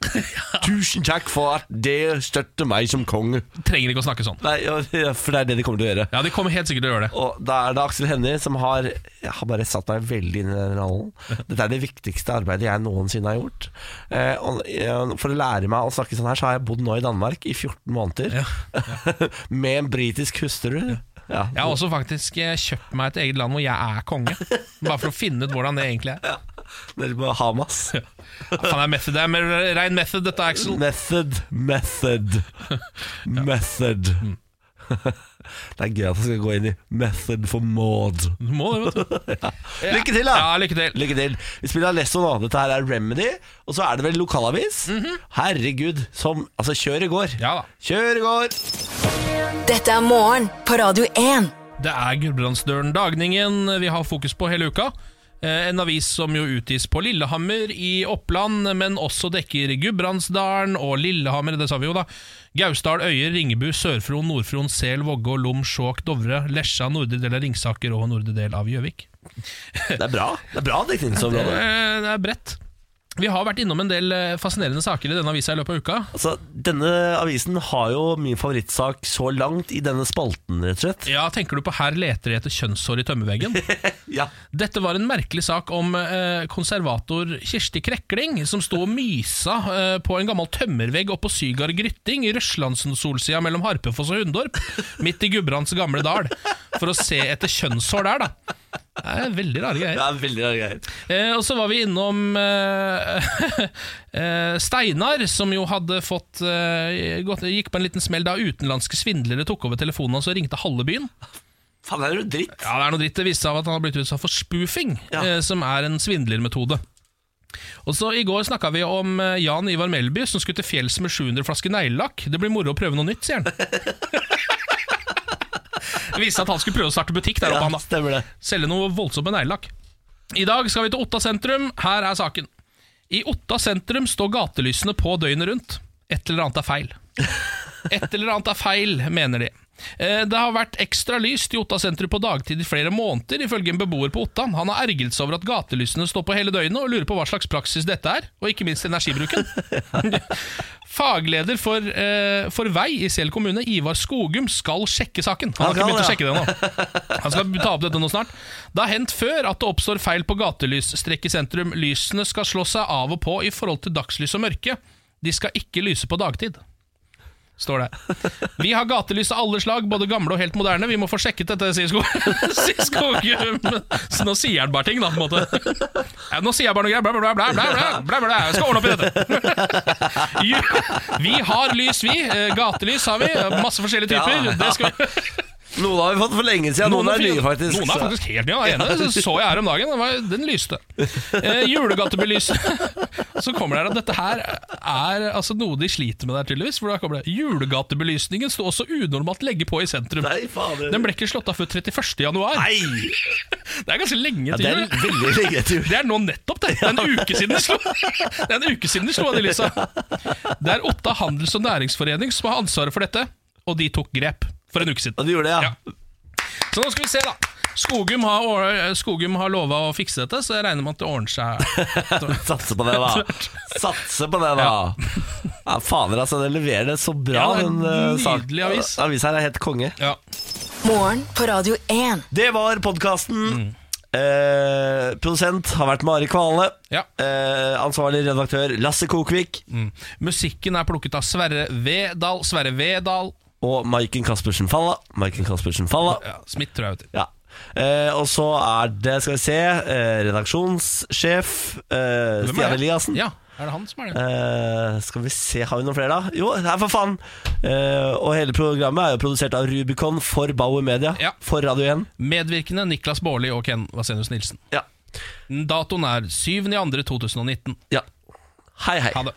Speaker 1: tusen takk for at dere støtter meg som konge.
Speaker 2: Trenger ikke å snakke sånn.
Speaker 1: Nei, ja, for det er det de kommer til å gjøre.
Speaker 2: Ja, De kommer helt sikkert til å gjøre det.
Speaker 1: Og da er det Aksel Hennie som har Jeg har bare satt meg veldig inn i den rollen. Dette er det viktigste arbeidet jeg noensinne har gjort. Eh, og, eh, for å lære meg å snakke sånn her, så har jeg bodd nå i Danmark i 14 måneder. med en britisk hustru. Ja.
Speaker 2: Jeg har også faktisk eh, kjøpt meg et eget land hvor jeg er konge. Bare for å finne ut hvordan det egentlig er.
Speaker 1: Nede på Hamas.
Speaker 2: Ja, faen, det er method, det er med rein method, dette, Axel.
Speaker 1: Method, method, method. det er gøy at jeg skal gå inn i method for Maud.
Speaker 2: Du må det, vet du.
Speaker 1: Lykke til, da!
Speaker 2: Ja, lykke til.
Speaker 1: Lykke til. Vi spiller Alesso nå. Dette her er Remedy. Og så er det vel lokalavis. Herregud, som Altså, kjør i går.
Speaker 2: Mhm. Ja da.
Speaker 1: Kjør i går!
Speaker 3: Dette er morgen på Radio 1.
Speaker 2: Det er Gudbrandsdølen Dagningen vi har fokus på hele uka. Eh, En avis som jo utgis på Lillehammer i Oppland, men også dekker Gudbrandsdalen og Lillehammer, det sa vi jo da. Gausdal, Øyer, Ringebu, Sør-Fron, Nord-Fron, Sel, Vågå, Lom, Skjåk, Dovre, Lesja, nordre del av Ringsaker og nordre del av Gjøvik.
Speaker 1: Det er bra. Det er bra
Speaker 2: Eh,
Speaker 1: dekningsområde.
Speaker 2: Det er bredt. Vi har vært innom en del eh, fascinerende saker i denne avisa i løpet av uka.
Speaker 1: Altså, denne avisen har jo min favorittsak så langt i denne spalten, rett og slett.
Speaker 2: Ja, tenker du på Her leter de etter kjønnshår i tømmerveggen?
Speaker 1: Ja.
Speaker 2: Dette var en merkelig sak om eh, konservator Kirsti Krekling, som sto og mysa eh, på en gammel tømmervegg oppå Sygard Grytting i Røslandsen-solsida mellom Harpefoss og Hundorp, midt i Gudbrands gamle dal. for å se etter kjønnshår der, da. Det er veldig rare greier.
Speaker 1: Det er veldig rare greier.
Speaker 2: Eh, og så var vi innom eh, eh, Steinar, som jo hadde fått eh, gått, Gikk på en liten smell da utenlandske svindlere tok over telefonen hans og ringte halve byen.
Speaker 1: Faen, det er jo dritt.
Speaker 2: Ja, det er noe dritt. Det viste seg av at han har blitt utsatt for spoofing,
Speaker 1: Ja.
Speaker 2: eh, som er en svindlermetode. Og så I går snakka vi om eh, Jan Ivar Melby, som skulle til fjells med 700 flasker neglelakk. Det blir moro å prøve noe nytt, sier han. Det viste seg at han skulle prøve å starte butikk der oppe. han da
Speaker 1: stemmer det.
Speaker 2: selge noe voldsomt med neglelakk. I dag skal vi til Otta sentrum. Her er saken. I Otta sentrum står gatelysene på døgnet rundt. Et eller annet er feil. Et eller annet er feil, mener de. Eh, Det har vært ekstra lyst i Otta sentrum på dagtid i flere måneder, ifølge en beboer på Otta. Han har ergret seg over at gatelysene står på hele døgnet, og lurer på hva slags praksis dette er, og ikke minst energibruken. Fagleder for, eh, for vei i Sel kommune, Ivar Skogum, skal sjekke saken. Han har ikke
Speaker 1: Han
Speaker 2: begynt å
Speaker 1: skal,
Speaker 2: sjekke det nå. Han skal ta opp dette nå snart. Det har hendt før at det oppstår feil på gatelysstrekk i sentrum. Lysene skal slå seg av og på i forhold til dagslys og mørke. De skal ikke lyse på dagtid. Står det. Vi har gatelys av alle slag, både gamle og helt moderne. Vi må få sjekket dette, sier Skogum. Sier Skogum. Så nå sier han bare ting, da, på en måte. Ja, nå sier jeg bare noe greier. Bla, bla, bla, bla, bla, bla, bla. Jeg skal ordne opp i dette. Ju- Vi har lys, vi. Eh, Gatelys har vi. Masse forskjellige typer.
Speaker 1: Ja, ja.
Speaker 2: Det skal vi.
Speaker 1: Noen har vi fått for lenge siden, noen, er
Speaker 2: fin-
Speaker 1: nye, faktisk.
Speaker 2: Noen er
Speaker 1: Så-
Speaker 2: faktisk helt nye. Den ene så- så jeg her om dagen. Den, var, den lyste. Eh, julegatebelyset. Så kommer det her at dette her er altså, noe de sliter med der, tydeligvis. For da kommer det Julegatebelysningen sto også unormalt legge på i sentrum.
Speaker 1: Nei, fader.
Speaker 2: Den ble ikke slått av før 31. januar.
Speaker 1: Nei!
Speaker 2: Det er ganske lenge
Speaker 1: Ja,
Speaker 2: til.
Speaker 1: det er
Speaker 2: jul.
Speaker 1: veldig lenge til. jul.
Speaker 2: Det er nå nettopp det! Det er en uke siden de slo Det er en uke siden de slo av de lysa. Det er Otta handels- og næringsforening som har ansvaret for dette, og de tok grep for en uke
Speaker 1: Ja,
Speaker 2: siden.
Speaker 1: du gjorde det, ja.
Speaker 2: Så nå skal vi se, da. Skogum har, Skogum har lova å fikse dette, så jeg regner med at det ordner seg.
Speaker 1: Satse på det, da. Satse på det, da. Ja, fader, altså. Den leverer det så bra,
Speaker 2: Ja, det er en
Speaker 1: den eh, sak-
Speaker 2: nydelig avis.
Speaker 1: Avisa her er helt konge.
Speaker 2: Ja.
Speaker 3: Morgen på Radio 1.
Speaker 1: Det var podkasten.
Speaker 2: Mm.
Speaker 1: Eh, produsent har vært Mari Kvale.
Speaker 2: Ja.
Speaker 1: Eh, ansvarlig redaktør Lasse Kokvik.
Speaker 2: mm. Musikken er plukket av Sverre Vedal. Sverre Vedal
Speaker 1: Og Maiken Caspersen Falla. Maiken Caspersen Falla.
Speaker 2: ja, Smith, tror jeg. vet du.
Speaker 1: Ja. Eh, og så er det, skal vi se, eh, redaksjonssjef eh,
Speaker 2: Hvem er
Speaker 1: Stian
Speaker 2: det?
Speaker 1: Eliassen.
Speaker 2: Ja, er det han som er det?
Speaker 1: Eh, skal vi se, har vi noen flere da? Jo, her for faen! Eh, og hele programmet er jo produsert av Rubicon for Bauer Media.
Speaker 2: Ja.
Speaker 1: For Radio 1.
Speaker 2: Medvirkende Niklas Baarli og Ken Vasenius Nilsen.
Speaker 1: Ja.
Speaker 2: Datoen er 7.2.2019.
Speaker 1: ja. Hei, hei.
Speaker 2: Ha det.